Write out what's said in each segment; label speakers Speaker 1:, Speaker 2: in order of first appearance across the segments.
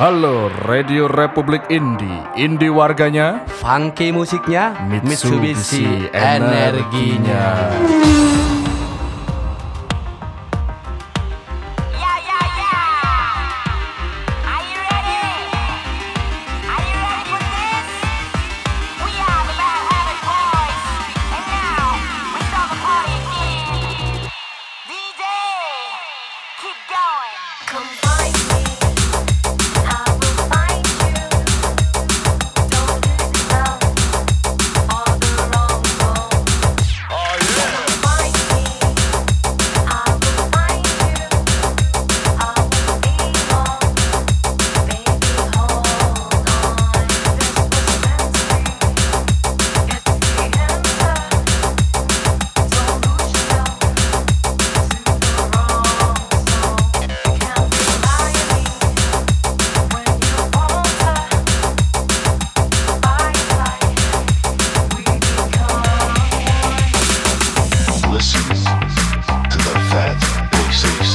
Speaker 1: Halo Radio Republik Indi, Indi warganya,
Speaker 2: Funky musiknya,
Speaker 1: Mitsubishi, energinya.
Speaker 3: Yeah, yeah, yeah. Are you ready? Are you ready for this? We are the Bad Habit Boys, and now we start the party again. DJ, keep going. Come find me, I will find you. Don't look around all the wrong road. Come find me, I will find you.
Speaker 4: Listen to the fat voices.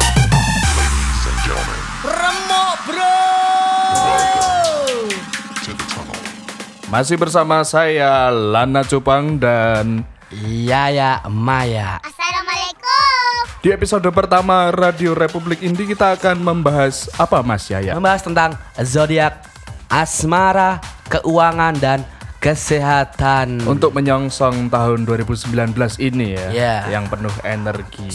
Speaker 4: And gentlemen,
Speaker 2: Remuk bro.
Speaker 4: to the tunnel.
Speaker 1: Masih bersama saya Lana Cupang dan
Speaker 2: Iya ya, Maya.
Speaker 3: Assalamualaikum.
Speaker 1: di episode pertama Radio Republik Indi kita akan membahas apa Mas Yaya?
Speaker 2: Membahas tentang zodiak, asmara, keuangan dan kesehatan.
Speaker 1: Untuk menyongsong tahun 2019 ini ya,
Speaker 2: Iya.
Speaker 1: yang penuh energi.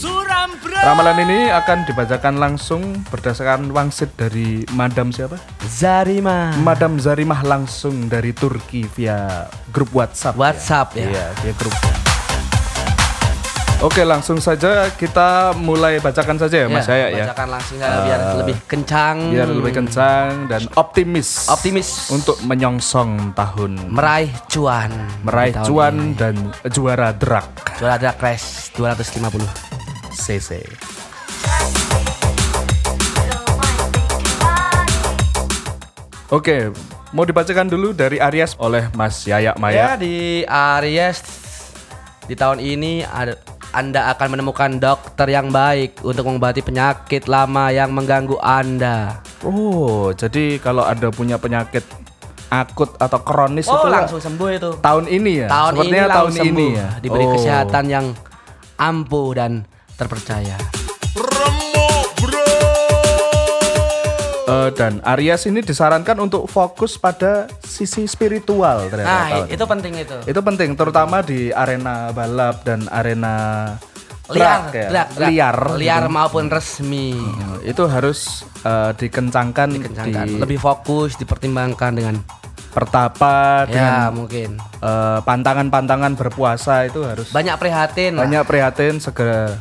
Speaker 1: Ramalan ini akan dibacakan langsung berdasarkan wangsit dari Madam siapa?
Speaker 2: Zarima.
Speaker 1: Madam Zarimah langsung dari Turki via grup WhatsApp. ya.
Speaker 2: WhatsApp ya.
Speaker 1: Iya, via grup. Oke, langsung saja kita mulai bacakan saja ya, Mas Yaya ya. Eh,
Speaker 2: Bacakan langsung saja biar lebih kencang.
Speaker 1: Biar lebih kencang dan optimis.
Speaker 2: Optimis.
Speaker 1: untuk menyongsong tahun
Speaker 2: meraih cuan.
Speaker 1: meraih
Speaker 2: Tahun ini.
Speaker 1: cuan dan juara drak
Speaker 2: Juara Drag Race 250.
Speaker 1: CC. Oke, mau dibacakan dulu dari Aries oleh Mas Yaya
Speaker 2: Ya
Speaker 1: Maya.
Speaker 2: di Aries di tahun ini ada- Anda akan menemukan dokter yang baik untuk mengobati penyakit lama yang mengganggu Anda.
Speaker 1: Oh, jadi kalau Anda punya penyakit akut atau kronis
Speaker 2: Oh,
Speaker 1: itu
Speaker 2: langsung sembuh itu.
Speaker 1: tahun ini ya.
Speaker 2: Tahun ini
Speaker 1: Sepertinya tahun
Speaker 2: langsung
Speaker 1: ini
Speaker 2: sembuh,
Speaker 1: ya.
Speaker 2: diberi
Speaker 1: Oh.
Speaker 2: kesehatan yang ampuh dan terpercaya.
Speaker 1: Eh, dan Aries ini disarankan untuk fokus pada sisi spiritual ternyata.
Speaker 2: Nah,
Speaker 1: tahun
Speaker 2: itu penting itu.
Speaker 1: Itu penting terutama di arena balap dan arena drag
Speaker 2: Liar,
Speaker 1: ya.
Speaker 2: drag, drag.
Speaker 1: liar, Hmm.
Speaker 2: liar
Speaker 1: gitu.
Speaker 2: maupun resmi.
Speaker 1: Itu harus eh, dikencangkan,
Speaker 2: Kencangkan.
Speaker 1: di
Speaker 2: Lebih fokus dipertimbangkan dengan
Speaker 1: pertapa dengan
Speaker 2: ya mungkin
Speaker 1: eh, pantangan-pantangan berpuasa itu harus
Speaker 2: banyak prihatin. lah.
Speaker 1: banyak prihatin segera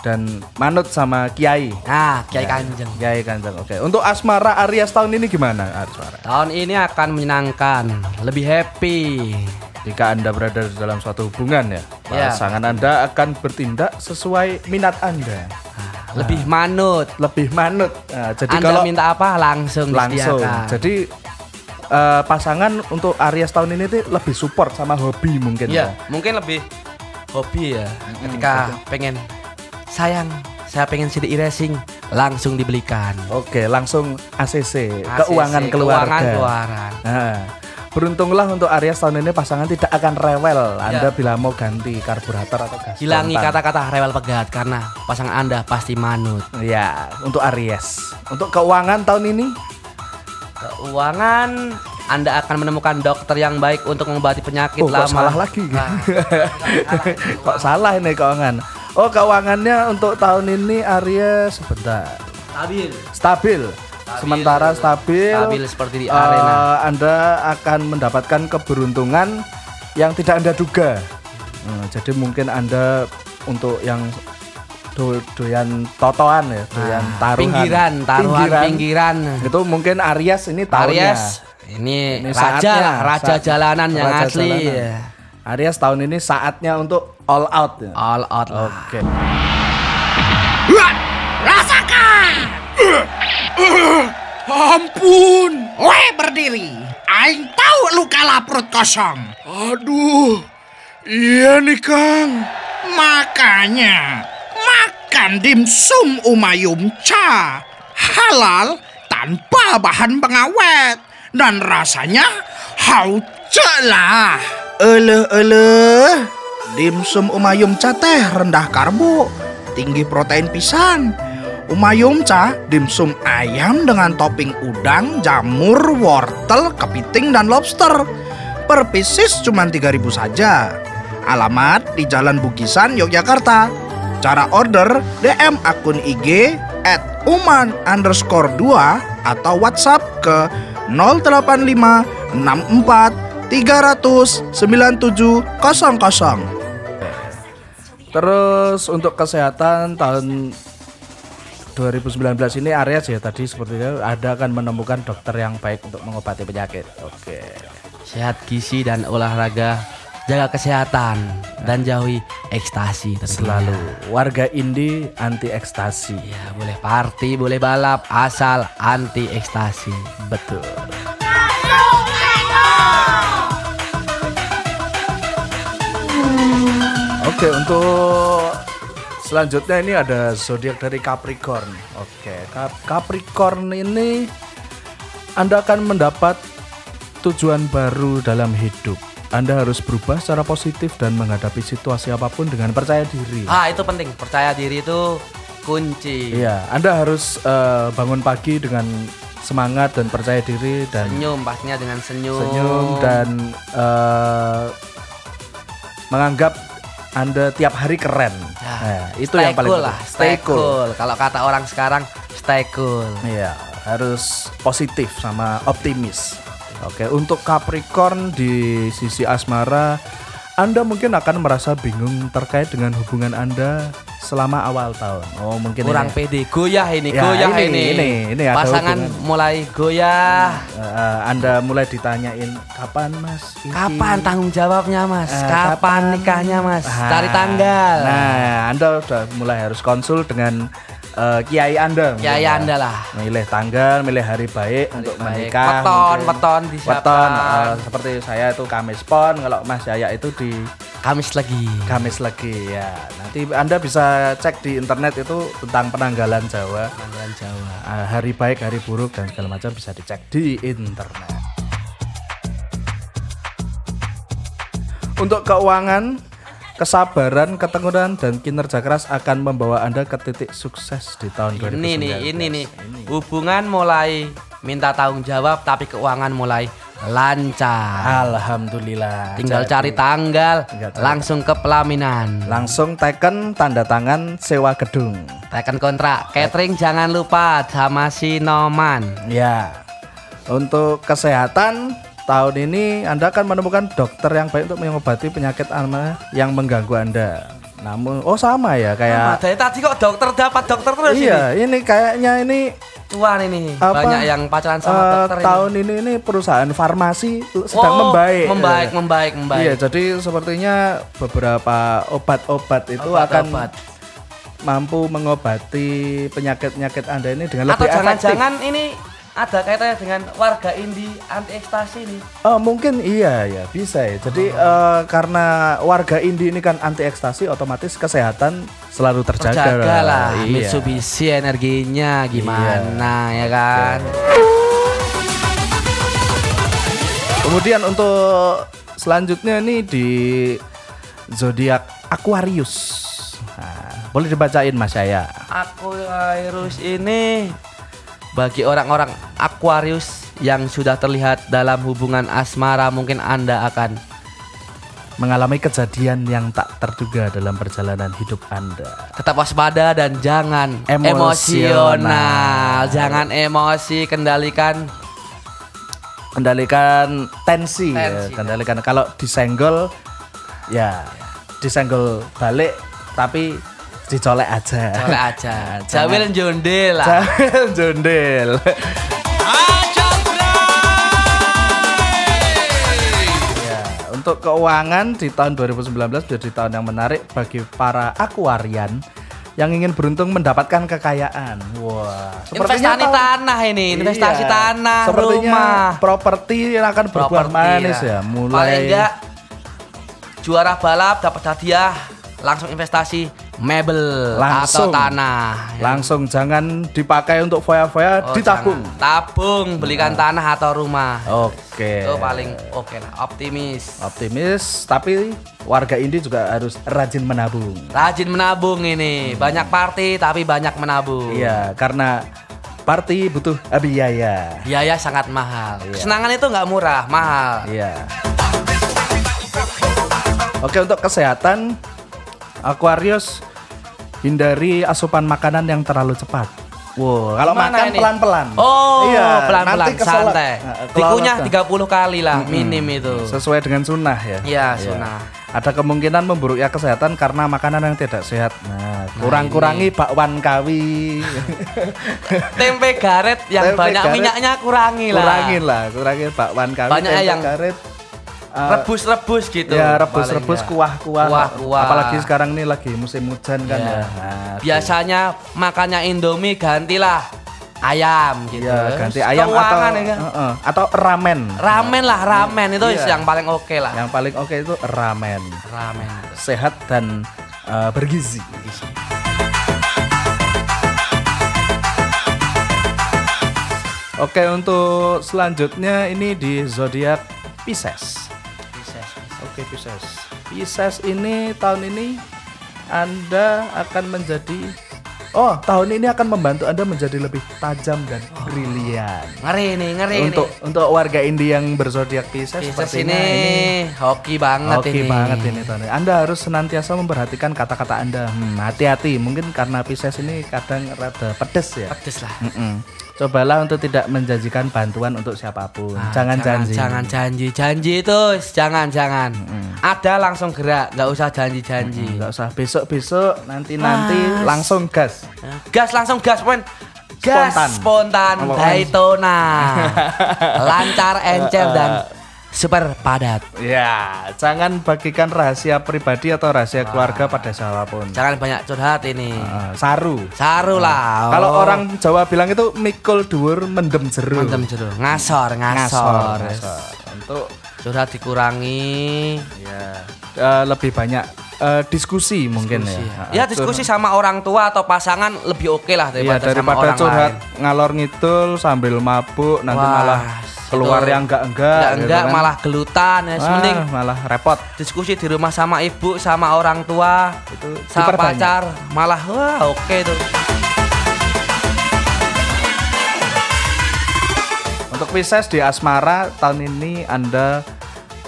Speaker 1: dan manut sama kiai.
Speaker 2: Nah, Kiai Kanjeng.
Speaker 1: Kiai Kanjeng. Oke. Untuk asmara Aries tahun ini gimana? Asmara.
Speaker 2: Tahun ini akan menyenangkan, lebih happy.
Speaker 1: Jika Anda berada dalam suatu hubungan ya,
Speaker 2: Ya.
Speaker 1: pasangan Anda akan bertindak sesuai minat Anda.
Speaker 2: Lebih manut.
Speaker 1: lebih manut. Nah, Ya. jadi
Speaker 2: Anda
Speaker 1: kalau
Speaker 2: minta apa langsung,
Speaker 1: langsung.
Speaker 2: disediakan.
Speaker 1: Jadi eh, pasangan untuk Aries tahun ini tuh lebih support sama hobi mungkin. ya.
Speaker 2: Iya, mungkin lebih hobi ya. Ketika pengen sayang, saya pengen CD e-racing langsung dibelikan.
Speaker 1: Oke, langsung ACC,
Speaker 2: ACC,
Speaker 1: keuangan keluarga.
Speaker 2: Keuangan keluaran.
Speaker 1: Nah, beruntunglah untuk Aries tahun ini pasangan tidak akan rewel. Anda bila mau ganti karburator atau gas.
Speaker 2: Ya. Hilangi
Speaker 1: spontan.
Speaker 2: kata-kata rewel pegat karena pasangan Anda pasti manut.
Speaker 1: Ya, untuk Aries. Untuk keuangan tahun ini
Speaker 2: Keuangan Anda akan menemukan dokter yang baik untuk mengobati penyakit
Speaker 1: Oh,
Speaker 2: lama.
Speaker 1: kok salah lagi.
Speaker 2: Nah,
Speaker 1: kok salah ini keuangan? Oh, keuangannya untuk tahun ini Aries sebentar.
Speaker 2: stabil.
Speaker 1: Stabil. Sementara stabil.
Speaker 2: Stabil seperti di
Speaker 1: eh,
Speaker 2: arena.
Speaker 1: Anda akan mendapatkan keberuntungan yang tidak Anda duga. Hmm, jadi mungkin Anda untuk yang do- doyan totoan ya, doyan taruhan.
Speaker 2: Ah, Pinggiran, taruhan
Speaker 1: Pinggiran.
Speaker 2: pinggiran.
Speaker 1: Itu mungkin Aries ini tahunnya.
Speaker 2: Aries ini,
Speaker 1: Ini
Speaker 2: raja
Speaker 1: saatnya,
Speaker 2: lah, raja
Speaker 1: saat-
Speaker 2: jalanan yang
Speaker 1: raja
Speaker 2: asli.
Speaker 1: jalanan. Aries tahun ini saatnya untuk all out. ya.
Speaker 2: All out lah.
Speaker 1: Oke.
Speaker 5: Ampun, we berdiri. Aing tahu lu kalah perut kosong. Aduh, iya nih Kang. Makanya, makan dimsum umayum cha. Halal tanpa bahan pengawet. Dan rasanya hauce lah. Eleh eleh, dimsum umayum cha teh rendah karbo, tinggi protein pisan. Umayum ca dimsum ayam dengan topping udang, jamur, wortel, kepiting, dan lobster. Per pieces cuma 3000 saja. Alamat di Jalan Bugisan, Yogyakarta. Cara order DM akun IG at uman underscore 2 atau WhatsApp ke 085 64 300 9700.
Speaker 1: Terus untuk kesehatan tahun 2019 ini Aries ya tadi sepertinya ada akan menemukan dokter yang baik untuk mengobati penyakit. Oke.
Speaker 2: Sehat gizi dan olahraga, jaga kesehatan dan jauhi ekstasi tentunya.
Speaker 1: Selalu warga indie anti ekstasi.
Speaker 2: Ya, boleh party, boleh balap, asal anti ekstasi.
Speaker 1: Betul. Oke, untuk selanjutnya ini ada zodiak dari Capricorn. Oke, Cap- Capricorn ini Anda akan mendapat tujuan baru dalam hidup. Anda harus berubah secara positif dan menghadapi situasi apapun dengan percaya diri.
Speaker 2: Ah, itu penting. Percaya diri itu kunci.
Speaker 1: Iya, Anda harus eh, bangun pagi dengan semangat dan percaya diri dan
Speaker 2: Senyum pastinya dengan senyum.
Speaker 1: senyum dan eh, menganggap anda tiap hari keren.
Speaker 2: Ya,
Speaker 1: Nah, itu
Speaker 2: stay
Speaker 1: yang paling
Speaker 2: cool
Speaker 1: penting.
Speaker 2: lah, stay cool. Kalau kata orang sekarang stay cool.
Speaker 1: Iya, harus positif sama optimis. Oke, untuk Capricorn di sisi asmara, Anda mungkin akan merasa bingung terkait dengan hubungan Anda selama awal tahun. Oh, mungkin
Speaker 2: Kurang
Speaker 1: ini.
Speaker 2: pede, goyah ini,
Speaker 1: Ya,
Speaker 2: goyah
Speaker 1: ini,
Speaker 2: ini.
Speaker 1: ini, ini ada
Speaker 2: Pasangan
Speaker 1: hubungan.
Speaker 2: mulai goyah.
Speaker 1: Eh, eh, Anda mulai ditanyain kapan Mas? Ini?"
Speaker 2: Kapan tanggung jawabnya, Mas?
Speaker 1: Eh, Ah,
Speaker 2: kapan, nikahnya, Mas? Cari tanggal.
Speaker 1: Nah, Anda udah mulai harus konsul dengan eh, kiai Anda. mungkin
Speaker 2: Kiai
Speaker 1: ya.
Speaker 2: Anda lah.
Speaker 1: Milih tanggal, milih hari baik untuk
Speaker 2: baik.
Speaker 1: menikah.
Speaker 2: Weton,
Speaker 1: mungkin.
Speaker 2: weton disiapkan.
Speaker 1: Weton, eh, seperti saya itu Kamis Pon, kalau Mas Yaya itu di
Speaker 2: Kamis lagi.
Speaker 1: Kamis lagi ya. Nanti Anda bisa cek di internet itu tentang penanggalan Jawa.
Speaker 2: Tanggalan Jawa.
Speaker 1: Eh, hari baik, hari buruk dan segala macam bisa dicek di internet. Untuk keuangan, kesabaran, ketekunan dan kinerja keras akan membawa Anda ke titik sukses di tahun 2019.
Speaker 2: Ini nih, ini nih. Hubungan mulai minta tanggung jawab tapi keuangan mulai lancar.
Speaker 1: Alhamdulillah.
Speaker 2: Tinggal
Speaker 1: Jadi,
Speaker 2: cari tanggal,
Speaker 1: Ah, Tinggal cari.
Speaker 2: langsung ke pelaminan.
Speaker 1: Langsung teken tanda tangan sewa gedung.
Speaker 2: Tekan kontrak, catering jangan lupa sama si Noman.
Speaker 1: Ya. Untuk kesehatan tahun ini Anda akan menemukan dokter yang baik untuk mengobati penyakit asma yang mengganggu Anda. Namun oh sama ya
Speaker 2: Nah,
Speaker 1: kayak
Speaker 2: dari tadi kok dokter dapat dokter terus ini.
Speaker 1: Iya, ini kayaknya ini
Speaker 2: Cuan ini.
Speaker 1: Apa?
Speaker 2: Banyak yang pacaran Kan sama
Speaker 1: eh,
Speaker 2: dokter
Speaker 1: tahun ini. ini perusahaan farmasi
Speaker 2: ini.
Speaker 1: sedang
Speaker 2: Oh,
Speaker 1: membaik.
Speaker 2: Membaik, membaik, membaik.
Speaker 1: Iya, jadi sepertinya beberapa obat-obat itu akan
Speaker 2: Obat-obat.
Speaker 1: mampu mengobati penyakit-penyakit Anda ini dengan
Speaker 2: Atau
Speaker 1: lebih efektif.
Speaker 2: jangan-jangan ini ada kaitannya dengan warga indie anti ekstasi nih.
Speaker 1: Oh, mungkin iya ya, bisa ya. Jadi eh, karena warga Indi ini kan anti ekstasi otomatis kesehatan selalu terjaga.
Speaker 2: Jaga lah
Speaker 1: Iya.
Speaker 2: Mitsubishi energinya gimana ya kan.
Speaker 1: Kemudian untuk selanjutnya nih di zodiak Aquarius. Nah, boleh dibacain Mas saya.
Speaker 2: Aquarius ini bagi orang-orang Aquarius yang sudah terlihat dalam hubungan asmara mungkin Anda akan
Speaker 1: Mengalami kejadian yang tak terduga dalam perjalanan hidup Anda.
Speaker 2: tetap waspada dan jangan
Speaker 1: Emosional.
Speaker 2: emosional. Jangan emosi, kendalikan
Speaker 1: Kendalikan tensi, ya,
Speaker 2: Tensi.
Speaker 1: kendalikan kalau disenggol ya disenggol balik tapi dicolek aja.
Speaker 2: Coba aja. Jawil jonde lah.
Speaker 1: Jangan jondel. Ya, Untuk keuangan di tahun 2019 menjadi tahun yang menarik bagi para akuarian yang ingin beruntung mendapatkan kekayaan. Wah, sepertinya
Speaker 2: Investasi
Speaker 1: tahun-
Speaker 2: tanah ini, investasi
Speaker 1: Iya.
Speaker 2: tanah,
Speaker 1: Sepertinya
Speaker 2: rumah.
Speaker 1: properti akan berbuah
Speaker 2: Properti,
Speaker 1: manis
Speaker 2: ya.
Speaker 1: ya. Mulai
Speaker 2: Paling enggak juara balap dapat hadiah langsung investasi mebel
Speaker 1: Langsung.
Speaker 2: atau tanah.
Speaker 1: langsung jangan dipakai untuk foya-foya,
Speaker 2: Oh,
Speaker 1: ditabung. Nah.
Speaker 2: jangan. Tabung, belikan tanah atau rumah.
Speaker 1: Oke.
Speaker 2: Itu paling oke lah, optimis.
Speaker 1: optimis tapi warga Indi juga harus rajin menabung
Speaker 2: Rajin menabung ini, banyak party tapi banyak menabung.
Speaker 1: Hmm. iya karena party butuh biaya
Speaker 2: Biaya sangat mahal. Kesenangan itu nggak murah, mahal.
Speaker 1: iya oke untuk kesehatan Aquarius hindari asupan makanan yang terlalu cepat Wow, kalau
Speaker 2: Gimana
Speaker 1: makan
Speaker 2: ini?
Speaker 1: pelan-pelan.
Speaker 2: Oh,
Speaker 1: Iya,
Speaker 2: pelan-pelan
Speaker 1: nanti keselak.
Speaker 2: santai.
Speaker 1: Nah, kelelep.
Speaker 2: Dikunyah 30 kali lah minim itu.
Speaker 1: sesuai dengan sunnah ya.
Speaker 2: Iya, sunnah.
Speaker 1: Ada kemungkinan memburuknya kesehatan karena makanan yang tidak sehat. Nah, kurang-kurangi bakwan kawi.
Speaker 2: Tempe garet yang
Speaker 1: Tempe
Speaker 2: banyak
Speaker 1: garet.
Speaker 2: minyaknya kurangi lah.
Speaker 1: kurangin lah kurangin bakwan kami
Speaker 2: Banyak
Speaker 1: tempe
Speaker 2: yang
Speaker 1: karet eh,
Speaker 2: Rebus-rebus gitu.
Speaker 1: ya rebus-rebus
Speaker 2: paling nggak.
Speaker 1: kuah-kuah
Speaker 2: Kuah-kuah.
Speaker 1: apalagi sekarang nih lagi musim hujan kan
Speaker 2: Iya.
Speaker 1: ya Nah,
Speaker 2: Biasanya makannya Indomie gantilah ayam gitu.
Speaker 1: ya ganti ayam atau
Speaker 2: Keuangan ya kan?
Speaker 1: Heeh, atau ramen
Speaker 2: Ramen lah, ramen itu
Speaker 1: Iya.
Speaker 2: yang paling oke lah.
Speaker 1: yang paling oke itu ramen
Speaker 2: Ramen.
Speaker 1: sehat dan eh, bergizi Oke untuk selanjutnya ini di zodiak Pisces. Oke Pisces. Pisces ini tahun ini Anda akan menjadi Oh, tahun ini akan membantu Anda menjadi lebih tajam dan brilian.
Speaker 2: Ngeri nih, ngeri
Speaker 1: Untuk
Speaker 2: nih.
Speaker 1: untuk warga Indi yang berzodiak Pisces
Speaker 2: Pisces
Speaker 1: sepertinya
Speaker 2: ini hoki banget
Speaker 1: Oke
Speaker 2: ini.
Speaker 1: banget ini Tony. Anda harus senantiasa memperhatikan kata-kata Anda. Hmm, hati-hati, mungkin karena Pisces ini kadang rada pedes ya.
Speaker 2: Pedes lah.
Speaker 1: Mm-mm. Cobalah untuk tidak menjanjikan bantuan untuk siapapun.
Speaker 2: Ah,
Speaker 1: jangan, janji.
Speaker 2: Jangan janji, janji itu jangan jangan. Ada langsung gerak, nggak usah janji-janji.
Speaker 1: Nggak usah besok-besok nanti-nanti
Speaker 2: Mas.
Speaker 1: langsung gas.
Speaker 2: Eh, Gas langsung gas men. Gas
Speaker 1: Spontan.
Speaker 2: spontan,
Speaker 1: Apa, Mas? Ah,
Speaker 2: Daytona. Lancar, encer dan super padat.
Speaker 1: Ya, jangan bagikan rahasia pribadi atau rahasia keluarga pada siapapun.
Speaker 2: Jangan banyak curhat ini.
Speaker 1: Eh, saru.
Speaker 2: Saru lah.
Speaker 1: Kalau
Speaker 2: Oh.
Speaker 1: orang Jawa bilang itu mikul dhuwur mendem jeru.
Speaker 2: Mantap jeru. Ngasor, ngasor.
Speaker 1: Ngasor, ngasor. Untuk
Speaker 2: Curhat dikurangi.
Speaker 1: ya eh, lebih banyak eh, diskusi mungkin ya.
Speaker 2: Ya diskusi sama orang tua atau pasangan lebih oke lah
Speaker 1: Iya
Speaker 2: daripada, sama
Speaker 1: daripada
Speaker 2: orang
Speaker 1: curhat
Speaker 2: lain.
Speaker 1: ngalor ngidul sambil mabuk nanti
Speaker 2: Wah,
Speaker 1: malah keluar
Speaker 2: itu-
Speaker 1: yang gitu kan. enggak enggak.
Speaker 2: Enggak, enggak malah gelutan ya. Mending
Speaker 1: malah repot.
Speaker 2: diskusi di rumah sama ibu, sama orang tua,
Speaker 1: Itu
Speaker 2: sama
Speaker 1: diperbanyak.
Speaker 2: pacar, malah wah oke tuh.
Speaker 1: Untuk Pisces di asmara tahun ini Anda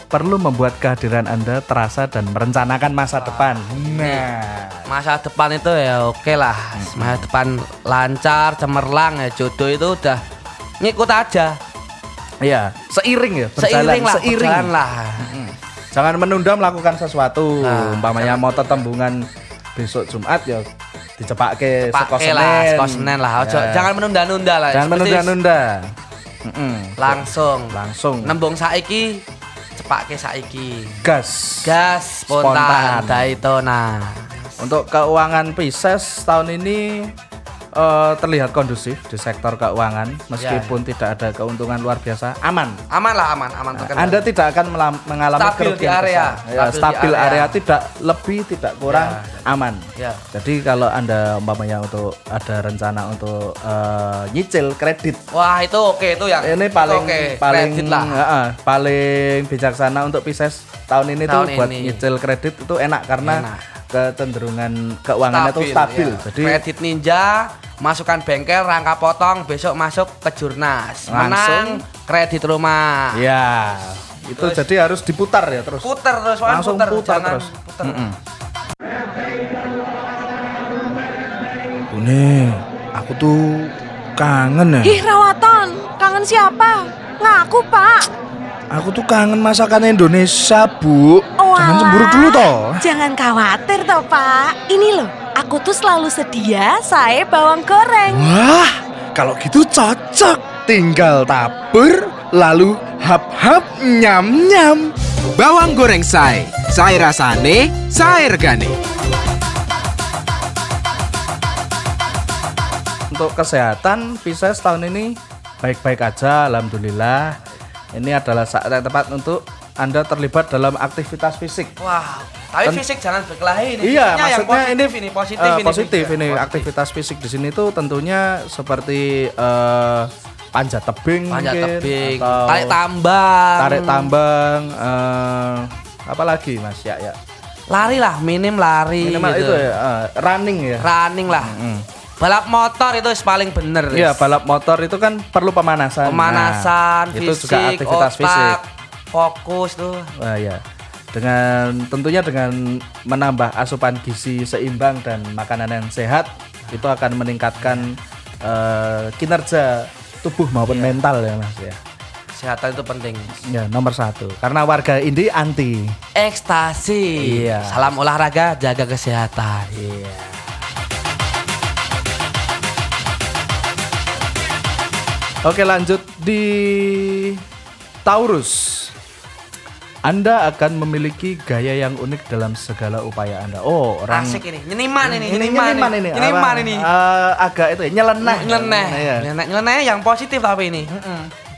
Speaker 1: perlu membuat kehadiran Anda terasa dan merencanakan masa depan. Nah,
Speaker 2: Masa depan itu ya oke lah. Masa depan lancar, cemerlang ya jodoh itu udah ngikut aja.
Speaker 1: iya, seiring ya, berjalan,
Speaker 2: Seiring lah,
Speaker 1: seiring.
Speaker 2: berjalan lah.
Speaker 1: Jangan menunda melakukan sesuatu.
Speaker 2: Nah,
Speaker 1: Umpamanya mau tetembungan besok Jumat ya dicepak ke
Speaker 2: Pakai lah, seko Senin lah. Ojo, Jangan menunda-nunda lah.
Speaker 1: Ya. Jangan
Speaker 2: Seperti
Speaker 1: menunda-nunda. Mm-mm.
Speaker 2: Langsung.
Speaker 1: Langsung.
Speaker 2: Nembung saiki, cepake saiki.
Speaker 1: Gas.
Speaker 2: Gas
Speaker 1: Spontan.
Speaker 2: spontan, Daytona.
Speaker 1: Untuk keuangan Pisces tahun ini eh, terlihat kondusif di sektor keuangan
Speaker 2: Ya.
Speaker 1: meskipun tidak ada keuntungan luar biasa, aman.
Speaker 2: Aman lah aman, aman terkendali.
Speaker 1: Anda tidak akan melam- mengalami
Speaker 2: Stabil di
Speaker 1: kerugian
Speaker 2: area.
Speaker 1: besar. Ya,
Speaker 2: Stabil di
Speaker 1: stabil
Speaker 2: area.
Speaker 1: area. tidak lebih tidak kurang aman.
Speaker 2: Ya.
Speaker 1: Jadi kalau Anda umpamanya untuk ada rencana untuk eh, nyicil kredit
Speaker 2: Wah itu oke itu yang
Speaker 1: ini
Speaker 2: itu
Speaker 1: paling
Speaker 2: oke.
Speaker 1: paling
Speaker 2: Kredit lah.
Speaker 1: heeh, paling bijaksana untuk Pisces tahun ini
Speaker 2: Tahun
Speaker 1: tuh buat
Speaker 2: ini.
Speaker 1: nyicil kredit itu enak karena
Speaker 2: Enak.
Speaker 1: kecenderungan keuangannya tuh stabil.
Speaker 2: ya.
Speaker 1: Jadi
Speaker 2: kredit ninja masukkan bengkel rangka potong besok masuk ke
Speaker 1: Langsung.
Speaker 2: jurnas menang kredit rumah
Speaker 1: ya itu
Speaker 2: Terus-
Speaker 1: jadi harus diputar ya terus.
Speaker 2: puter terus Wan,
Speaker 1: Langsung putar
Speaker 2: jangan
Speaker 1: terus.
Speaker 2: puter.
Speaker 1: Bune, aku tuh kangen
Speaker 6: Ih rawatan, kangen siapa? Ngaku pak
Speaker 1: Aku tuh kangen masakan Indonesia, Bu.
Speaker 2: Oh,
Speaker 6: Walah, Jangan khawatir toh pak Ini loh, aku tuh selalu sedia saya bawang goreng
Speaker 7: Wah, kalau gitu cocok. Tinggal tabur, lalu hap-hap nyam-nyam.
Speaker 8: Bawang goreng say, say rasane, say regane.
Speaker 1: Untuk kesehatan Pisces tahun ini baik-baik aja alhamdulillah. Ini adalah saat yang tepat untuk Anda terlibat dalam aktivitas fisik.
Speaker 2: wah tapi
Speaker 1: Ten-
Speaker 2: fisik jangan berkelahi ini
Speaker 1: Iya,
Speaker 2: Fisiknya yang
Speaker 1: maksudnya ini
Speaker 2: positif ini positif
Speaker 1: eh,
Speaker 2: ini
Speaker 1: positif
Speaker 2: fisiknya.
Speaker 1: ini
Speaker 2: Positif.
Speaker 1: aktivitas fisik di sini tuh tentunya seperti eh, panjat tebing
Speaker 2: panjat
Speaker 1: mungkin,
Speaker 2: tebing
Speaker 1: atau
Speaker 2: tarik tambang
Speaker 1: tarik tambang eh, apa lagi Mas ya ya.
Speaker 2: lari lah minim lari
Speaker 1: Minimal
Speaker 2: gitu.
Speaker 1: itu ya, eh, running ya.
Speaker 2: running lah balap motor itu paling bener
Speaker 1: Iya,
Speaker 2: Riz.
Speaker 1: balap motor itu kan perlu pemanasan. Nah,
Speaker 2: pemanasan
Speaker 1: itu
Speaker 2: fisik,
Speaker 1: juga aktivitas
Speaker 2: otak,
Speaker 1: fisik.
Speaker 2: fokus tuh
Speaker 1: Wah, ya. Dengan tentunya dengan menambah asupan gizi seimbang dan makanan yang sehat itu akan meningkatkan eh, kinerja tubuh maupun
Speaker 2: Iya.
Speaker 1: mental ya Mas ya.
Speaker 2: kesehatan itu penting
Speaker 1: Ya, nomor satu. Karena warga Indi anti.
Speaker 2: ekstasi
Speaker 1: Iya.
Speaker 2: salam olahraga jaga kesehatan
Speaker 1: Oke, lanjut di Taurus. Anda akan memiliki gaya yang unik dalam segala upaya Anda. Oh, orang
Speaker 2: asik ini nyeniman ini
Speaker 1: ini
Speaker 2: nyeniman
Speaker 1: nyeniman ini,
Speaker 2: nyeniman
Speaker 1: apa,
Speaker 2: ini
Speaker 1: eh, agak itu ya, nyeleneh
Speaker 2: nyeleneh
Speaker 1: ya.
Speaker 2: nyeleneh nyeleneh yang positif tapi ini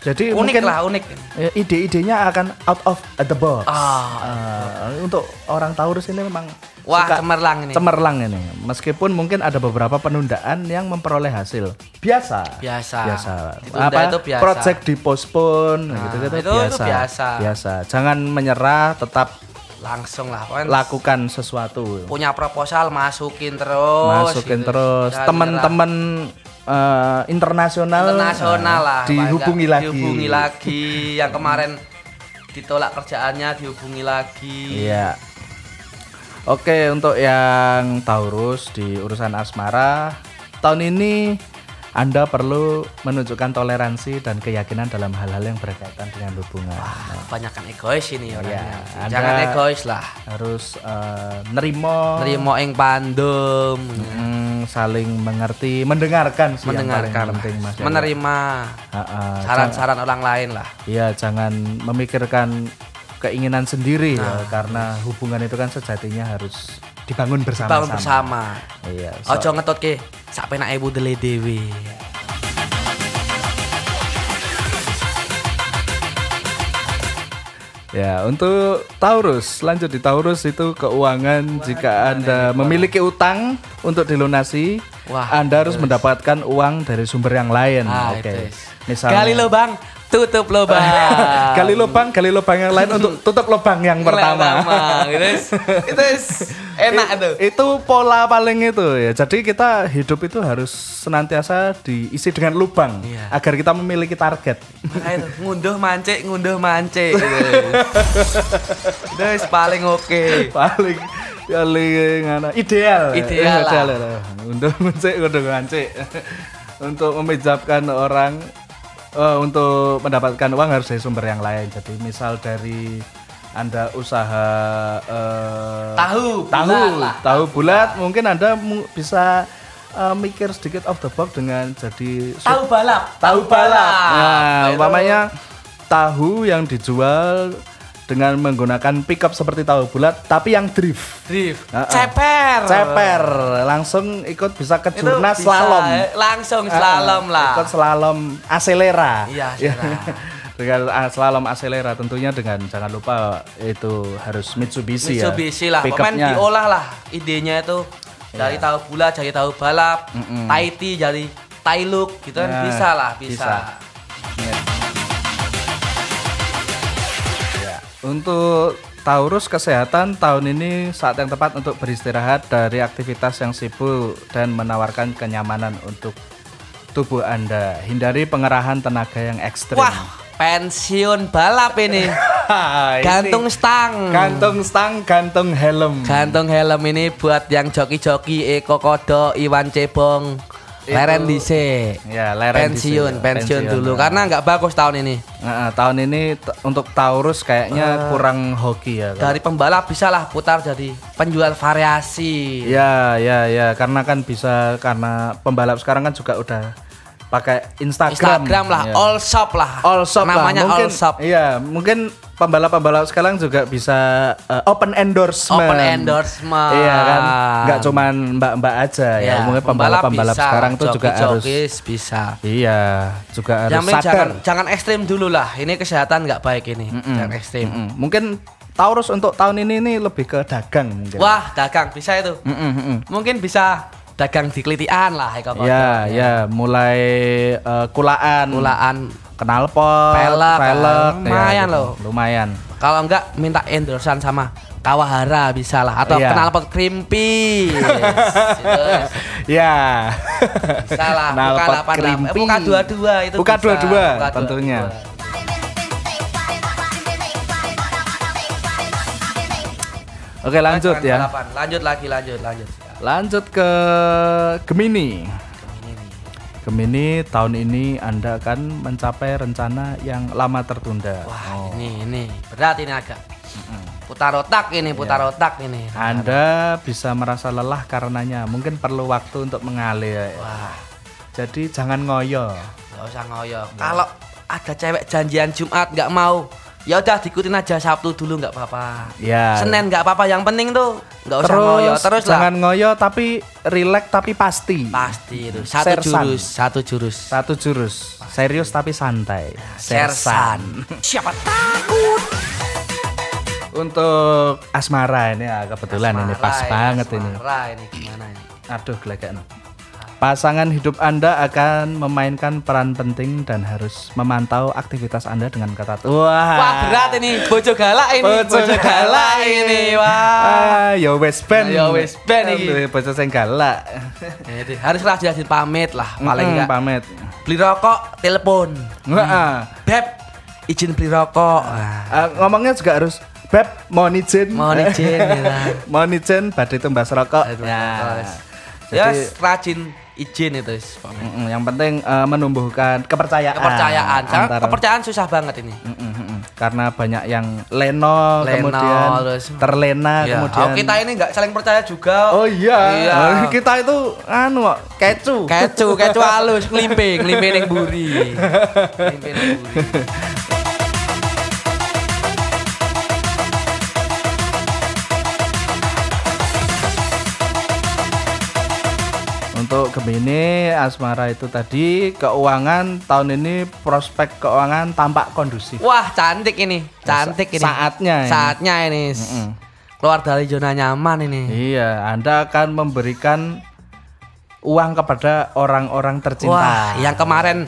Speaker 1: jadi
Speaker 2: unik
Speaker 1: mungkin
Speaker 2: lah unik
Speaker 1: eh, ide-idenya akan out of the box
Speaker 2: Ah.
Speaker 1: Eh, untuk orang Taurus ini memang
Speaker 2: Wah,
Speaker 1: suka
Speaker 2: cemerlang ini.
Speaker 1: cemerlang ini meskipun mungkin ada beberapa penundaan yang memperoleh hasil biasa
Speaker 2: Biasa.
Speaker 1: biasa
Speaker 2: Ditunda itu biasa. Ah,
Speaker 1: project dipospon gitu gitu
Speaker 2: itu- itu
Speaker 1: biasa.
Speaker 2: biasa.
Speaker 1: biasa jangan menyerah tetap
Speaker 2: langsung lah pokoknya
Speaker 1: lakukan sesuatu
Speaker 2: punya proposal masukin terus
Speaker 1: masukin
Speaker 2: gitu.
Speaker 1: terus
Speaker 2: Jangan nyerah.
Speaker 1: teman-teman eh, internasional
Speaker 2: internasional
Speaker 1: eh,
Speaker 2: lah
Speaker 1: dihubungi
Speaker 2: Pak.
Speaker 1: lagi
Speaker 2: dihubungi lagi yang kemarin ditolak kerjaannya dihubungi lagi
Speaker 1: iya oke untuk yang Taurus di urusan asmara tahun ini anda perlu menunjukkan toleransi dan keyakinan dalam hal-hal yang berkaitan dengan hubungan
Speaker 2: kebanyakan egois ini
Speaker 1: Iya.
Speaker 2: orangnya
Speaker 1: Anda-
Speaker 2: jangan egois lah
Speaker 1: Nah, harus eh, nerimo
Speaker 2: nerimo ing pandem
Speaker 1: mm, saling mengerti mendengarkan sih yang paling
Speaker 2: mendengarkan
Speaker 1: penting mas Yaya.
Speaker 2: menerima
Speaker 1: Ha, ha, jangan-
Speaker 2: saran-saran orang lain lah
Speaker 1: Iya, jangan memikirkan keinginan sendiri ya, karena hubungan itu kan sejatinya harus dibangun bersama-sama.
Speaker 2: bangun bersama
Speaker 1: Iya. so-
Speaker 2: ojo ngetot ke sak penake budele dhewe
Speaker 1: Ya, untuk Taurus, lanjut di Taurus itu keuangan jika Anda memiliki utang untuk dilunasi,
Speaker 2: Wah,
Speaker 1: Anda harus mendapatkan uang dari sumber yang lain.
Speaker 2: Ah,
Speaker 1: Hmm, Oke.
Speaker 2: itu.
Speaker 1: Misalnya
Speaker 2: gali lubang tutup lubang
Speaker 1: gali lubang, gali lubang yang lain untuk tutup lubang yang pertama.
Speaker 2: itu itu enak tuh
Speaker 1: itu pola paling itu ya. Jadi kita hidup itu harus senantiasa diisi dengan lubang
Speaker 2: Iya.
Speaker 1: agar kita memiliki target.
Speaker 2: Makanya tuh, ngunduh mancik, ngunduh mancik. Guys, paling oke.
Speaker 1: paling paling ana- ideal.
Speaker 2: Ideal lah.
Speaker 1: ya, lah. Untuk mencik, untuk ngancik. untuk memijapkan orang eh, untuk mendapatkan uang harus dari sumber yang lain. Jadi misal dari anda usaha eh,
Speaker 2: Tahu bulat
Speaker 1: tahu
Speaker 2: lah.
Speaker 1: tahu bulat mungkin anda mu- bisa eh, mikir sedikit off the box dengan jadi
Speaker 2: Tahu balap,
Speaker 1: tahu balap. Nah,
Speaker 2: Nah, itu.
Speaker 1: umpamanya tahu yang dijual dengan menggunakan pickup seperti tahu bulat tapi yang drift.
Speaker 2: Drift.
Speaker 1: Ah, ah.
Speaker 2: Ceper.
Speaker 1: Ceper, langsung ikut bisa ke
Speaker 2: Itu
Speaker 1: jurnas
Speaker 2: bisa,
Speaker 1: slalom.
Speaker 2: eh, Langsung
Speaker 1: Ah,
Speaker 2: slalom lah.
Speaker 1: Ikut slalom acelera.
Speaker 2: Iya, acelera.
Speaker 1: dengan ah, slalom acelera tentunya dengan jangan lupa itu harus Mitsubishi, ya.
Speaker 2: Mitsubishi lah, pemain
Speaker 1: Pickupnya. Iya.
Speaker 2: diolah lah idenya itu dari tahu bulat jadi tahu balap, Taiti jadi tai look gitu kan
Speaker 1: Nah,
Speaker 2: bisa lah,
Speaker 1: bisa.
Speaker 2: bisa.
Speaker 1: Ya. Untuk Taurus kesehatan tahun ini saat yang tepat untuk beristirahat dari aktivitas yang sibuk dan menawarkan kenyamanan untuk tubuh Anda. Hindari pengerahan tenaga yang ekstrim.
Speaker 2: Wah, pensiun balap ini.
Speaker 1: Hahaha, ini
Speaker 2: Gantung stang.
Speaker 1: gantung stang, gantung helm.
Speaker 2: Hmm. Gantung helm ini buat yang joki-joki Eko Kodo, Iwan Cebong, Leren Dise.
Speaker 1: Ya, leren dhisik.
Speaker 2: pensiun, pensiun
Speaker 1: Pensiun, ah.
Speaker 2: dulu karena nggak bagus tahun ini.
Speaker 1: Nah, tahun ini t- untuk Taurus
Speaker 2: Eh.
Speaker 1: kayaknya kurang hoki ya. kalau-
Speaker 2: Dari pembalap bisalah putar jadi penjual variasi.
Speaker 1: Ya, ya, ya. Karena kan bisa karena pembalap sekarang kan juga udah pakai Instagram.
Speaker 2: Instagram lah,
Speaker 1: Ya.
Speaker 2: all shop lah.
Speaker 1: all shop lah.
Speaker 2: Namanya
Speaker 1: mungkin,
Speaker 2: all shop.
Speaker 1: Iya, mungkin pembalap-pembalap sekarang juga bisa eh, open endorsement.
Speaker 2: Open endorsement.
Speaker 1: Iya kan, nggak cuman mbak-mbak aja ya.
Speaker 2: Ya,
Speaker 1: Mungkin pembalap-pembalap
Speaker 2: bisa,
Speaker 1: sekarang tuh juga harus.
Speaker 2: joki-jokis bisa.
Speaker 1: Iya, juga harus
Speaker 2: Yang penting
Speaker 1: sadar.
Speaker 2: jangan jangan ekstrim dulu lah. Ini kesehatan nggak baik ini. Jangan ekstrim.
Speaker 1: Mm, Mungkin Taurus untuk tahun ini nih lebih ke dagang mungkin.
Speaker 2: Wah dagang bisa itu.
Speaker 1: Mm, mm, mm.
Speaker 2: Mungkin bisa dagang di kelitian lah Eko Koto.
Speaker 1: Ya, ya, mulai eh, kulaan,
Speaker 2: Mulaan.
Speaker 1: knalpot,
Speaker 2: Pelek, kan.
Speaker 1: pelek, ya,
Speaker 2: lumayan
Speaker 1: gitu.
Speaker 2: loh.
Speaker 1: Lumayan.
Speaker 2: Kalau enggak minta endorsean sama Kawahara bisa lah atau
Speaker 1: Iya.
Speaker 2: kenal pot krimpi. Yes, itu.
Speaker 1: Ya.
Speaker 2: Salah,
Speaker 1: Knalpot
Speaker 2: buka 88. Eh,
Speaker 1: kerimping.
Speaker 2: buka 22 itu
Speaker 1: Buka
Speaker 2: bisa.
Speaker 1: 22
Speaker 2: Buka 22.
Speaker 1: tentunya. Oke, lanjut
Speaker 2: Jangan
Speaker 1: ya.
Speaker 2: balapan. Lanjut lagi, lanjut, lanjut. Ya,
Speaker 1: Lanjut ke Gemini. Gemini tahun ini Anda akan mencapai rencana yang lama tertunda. Oh.
Speaker 2: Wah, ini ini berat ini agak. Putar otak ini, putar
Speaker 1: Iya.
Speaker 2: otak ini.
Speaker 1: Anda bisa merasa lelah karenanya. Mungkin perlu waktu untuk mengalir.
Speaker 2: Wah,
Speaker 1: Jadi jangan ngoyo.
Speaker 2: nggak usah ngoyo. Kalau ada cewek janjian Jumat nggak mau, ya udah diikutin aja Sabtu dulu nggak apa-apa.
Speaker 1: Ya.
Speaker 2: Senin nggak apa-apa, yang penting tuh nggak usah
Speaker 1: terus,
Speaker 2: Oh, ngoyo terus
Speaker 1: jangan
Speaker 2: lah.
Speaker 1: ngoyo tapi rileks tapi pasti.
Speaker 2: Pasti itu satu
Speaker 1: Sersan.
Speaker 2: jurus, satu jurus.
Speaker 1: Satu jurus. Serius tapi santai.
Speaker 2: Sersan.
Speaker 9: Siapa
Speaker 1: Untuk asmara ini ya, kebetulan ini pas
Speaker 2: Marah
Speaker 1: banget ini.
Speaker 2: marah ini gimana ini?
Speaker 1: Aduh, gelegekan. Pasangan hidup Anda akan memainkan peran penting dan harus memantau aktivitas Anda dengan ketat. Wah,
Speaker 2: Wah berat ini, bojo galak ini, bojo,
Speaker 1: Ah. Bojo
Speaker 2: galak
Speaker 1: galak
Speaker 2: ini, wah.
Speaker 1: Ah, ya wes ben.
Speaker 2: Ya wes ben iki.
Speaker 1: Aduh, Bocah sing galak.
Speaker 2: Jadi harus lah jelasin pamit lah, paling
Speaker 1: Mm,
Speaker 2: enggak
Speaker 1: pamit.
Speaker 2: beli rokok, telepon.
Speaker 1: Heeh.
Speaker 2: Beb, izin beli rokok. Ah. Wah,
Speaker 1: Eh, ngomongnya juga harus Beb, mohon izin.
Speaker 2: Mohon izin, ya.
Speaker 1: mohon izin badhe tumbas rokok.
Speaker 2: Aduh,
Speaker 1: Ya.
Speaker 2: terus. Ya,
Speaker 1: Jadi,
Speaker 2: rajin izin itu. wis, pamit.
Speaker 1: mm, yang penting eh, menumbuhkan kepercayaan.
Speaker 2: Ya, Kepercayaan, Karena
Speaker 1: antara-
Speaker 2: kepercayaan susah banget ini.
Speaker 1: Mm, mm, mm. Karena banyak yang leno,
Speaker 2: Leno,
Speaker 1: kemudian
Speaker 2: terus-
Speaker 1: terlena,
Speaker 2: Ya,
Speaker 1: Nah, kemudian
Speaker 2: oh, kita ini nggak saling percaya juga.
Speaker 1: Oh iya,
Speaker 2: Iya.
Speaker 1: Oh, kita itu anu kok, kecu.
Speaker 2: Kecu, kecu halus, nglimpe, nglimpe ning buri. Nglimpe ning buri.
Speaker 1: Untuk Gemini, asmara itu tadi keuangan tahun ini prospek keuangan tampak kondusif.
Speaker 2: Wah, cantik ini. Cantik ini.
Speaker 1: saatnya ini.
Speaker 2: Saatnya ini. Keluar dari zona nyaman ini.
Speaker 1: Iya, Anda akan memberikan uang kepada orang-orang tercinta.
Speaker 2: Wah, yang kemarin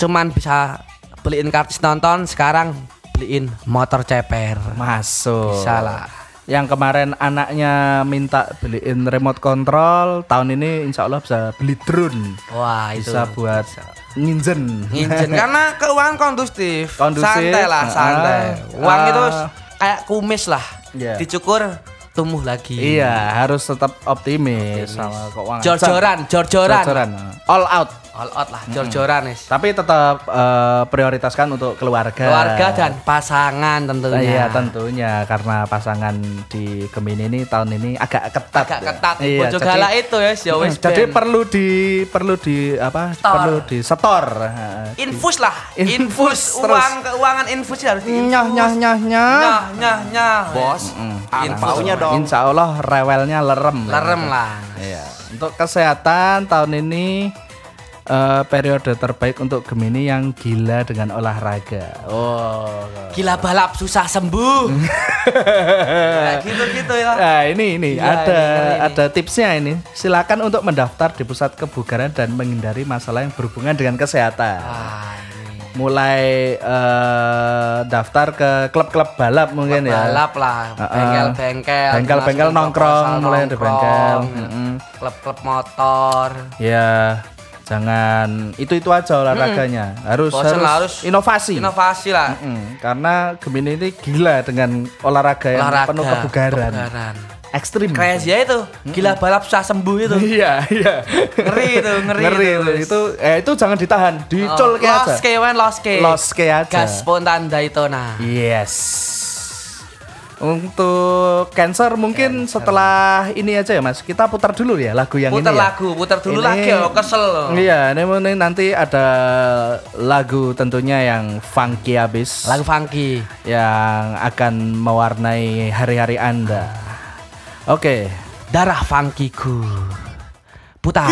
Speaker 2: cuman bisa beliin kartis nonton, sekarang beliin motor ceper.
Speaker 1: masuk.
Speaker 2: Bisa lah.
Speaker 1: Yang kemarin anaknya minta beliin remote control, tahun ini insya Allah bisa beli drone.
Speaker 2: Wah, Nah, itu.
Speaker 1: Bisa buat nginjen.
Speaker 2: Nginjen kan? karena keuangan kondusif.
Speaker 1: Kondusif,
Speaker 2: Santai lah,
Speaker 1: ah,
Speaker 2: santai. Uang
Speaker 1: ah.
Speaker 2: itu kayak kumis lah.
Speaker 1: Iya.
Speaker 2: Dicukur tumbuh lagi.
Speaker 1: Iya, harus tetap optimis, sama keuangan.
Speaker 2: Jor-joran, jor-joran.
Speaker 1: Jor-joran. All out.
Speaker 2: all out lah, jor-joran wis.
Speaker 1: Tapi tetap eh, prioritaskan untuk keluarga.
Speaker 2: Keluarga dan pasangan tentunya.
Speaker 1: Iya tentunya karena pasangan di Gemini ini tahun ini agak ketat.
Speaker 2: Agak
Speaker 1: ya.
Speaker 2: ketat.
Speaker 1: Iya,
Speaker 2: Bojo galak itu ya, ya wis.
Speaker 1: Jadi
Speaker 2: ben.
Speaker 1: perlu di perlu di apa?
Speaker 2: Setor.
Speaker 1: Perlu di setor. Heeh.
Speaker 2: infus lah,
Speaker 1: Infus
Speaker 2: infus,
Speaker 1: terus.
Speaker 2: uang keuangan infus harus diinfus.
Speaker 10: Nyah nyah nyah nyah.
Speaker 2: Nyah, nyah, nyah. Bos,
Speaker 1: Infusnya Hmm. dong. Insya Allah rewelnya lerem.
Speaker 2: lerem lah.
Speaker 1: Iya. Untuk kesehatan tahun ini eh, periode terbaik untuk Gemini yang gila dengan olahraga. Oh.
Speaker 2: Gila balap susah sembuh. Nah, gitu-gitu ya.
Speaker 1: Nah, ini ini
Speaker 2: Gila,
Speaker 1: ada
Speaker 2: ini, ini.
Speaker 1: ada tipsnya ini. Silakan untuk mendaftar di pusat kebugaran dan menghindari masalah yang berhubungan dengan kesehatan.
Speaker 2: Ah, ini.
Speaker 1: Mulai eh, daftar ke klub-klub balap mungkin ya.
Speaker 2: Balap lah,
Speaker 1: Heeh.
Speaker 2: bengkel-bengkel.
Speaker 1: Bengkel-bengkel
Speaker 2: dimasukin ke
Speaker 1: nongkrong,
Speaker 2: pasar
Speaker 1: mulai di bengkel. Mm-mm.
Speaker 2: Klub-klub motor.
Speaker 1: Ya, jangan itu-itu aja olahraganya. Harus harus,
Speaker 2: Bosen lah, harus
Speaker 1: inovasi.
Speaker 2: Inovasi lah.
Speaker 1: Mm, karena Gemini ini gila dengan olahraga yang
Speaker 2: Olahraga.
Speaker 1: penuh kebugaran. Hmm.
Speaker 2: kebugaran.
Speaker 1: Ekstrim.
Speaker 2: Keren sih ya itu. Gila balap susah sembuh itu.
Speaker 1: Iya, iya.
Speaker 2: Ngeri itu, ngeri itu,
Speaker 1: itu.
Speaker 2: wis.
Speaker 1: Itu, eh, itu jangan ditahan, dicul
Speaker 2: Oh,
Speaker 1: ke aja.
Speaker 2: Los ke wen los ke.
Speaker 1: Los ke aja.
Speaker 2: Gas spontan nah. Daytona.
Speaker 1: Yes. Untuk Cancer mungkin setelah ini aja ya Mas. Kita putar dulu ya lagu yang
Speaker 2: Putar
Speaker 1: ini. ya.
Speaker 2: lagu, putar dulu
Speaker 1: Ini-
Speaker 2: lagi oh, kesel.
Speaker 1: Iya, ini, ini nanti ada lagu tentunya yang funky abis.
Speaker 2: Lagu funky.
Speaker 1: yang akan mewarnai hari-hari Anda. Oke,
Speaker 2: Darah funkyku. Putar.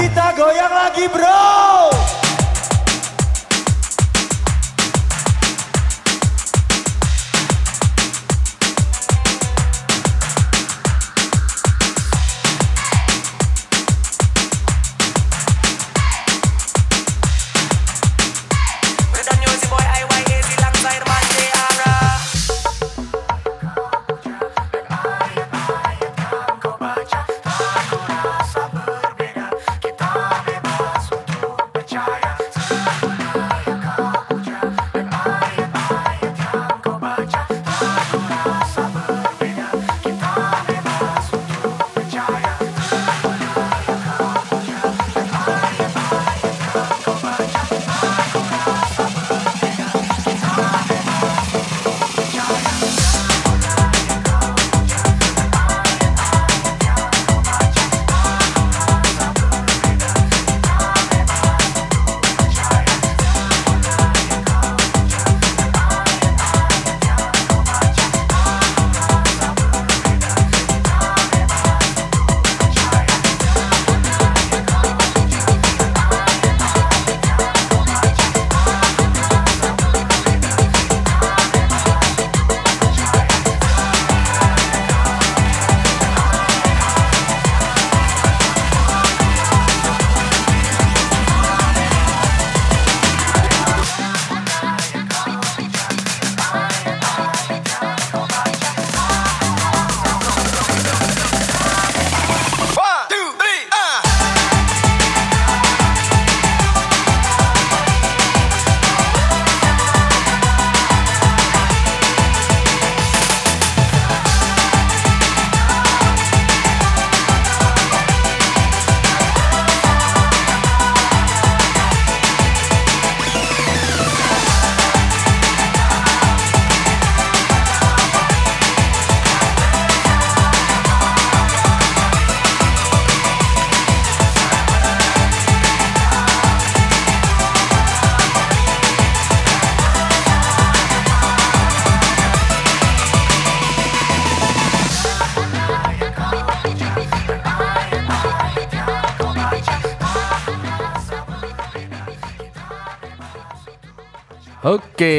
Speaker 1: oke,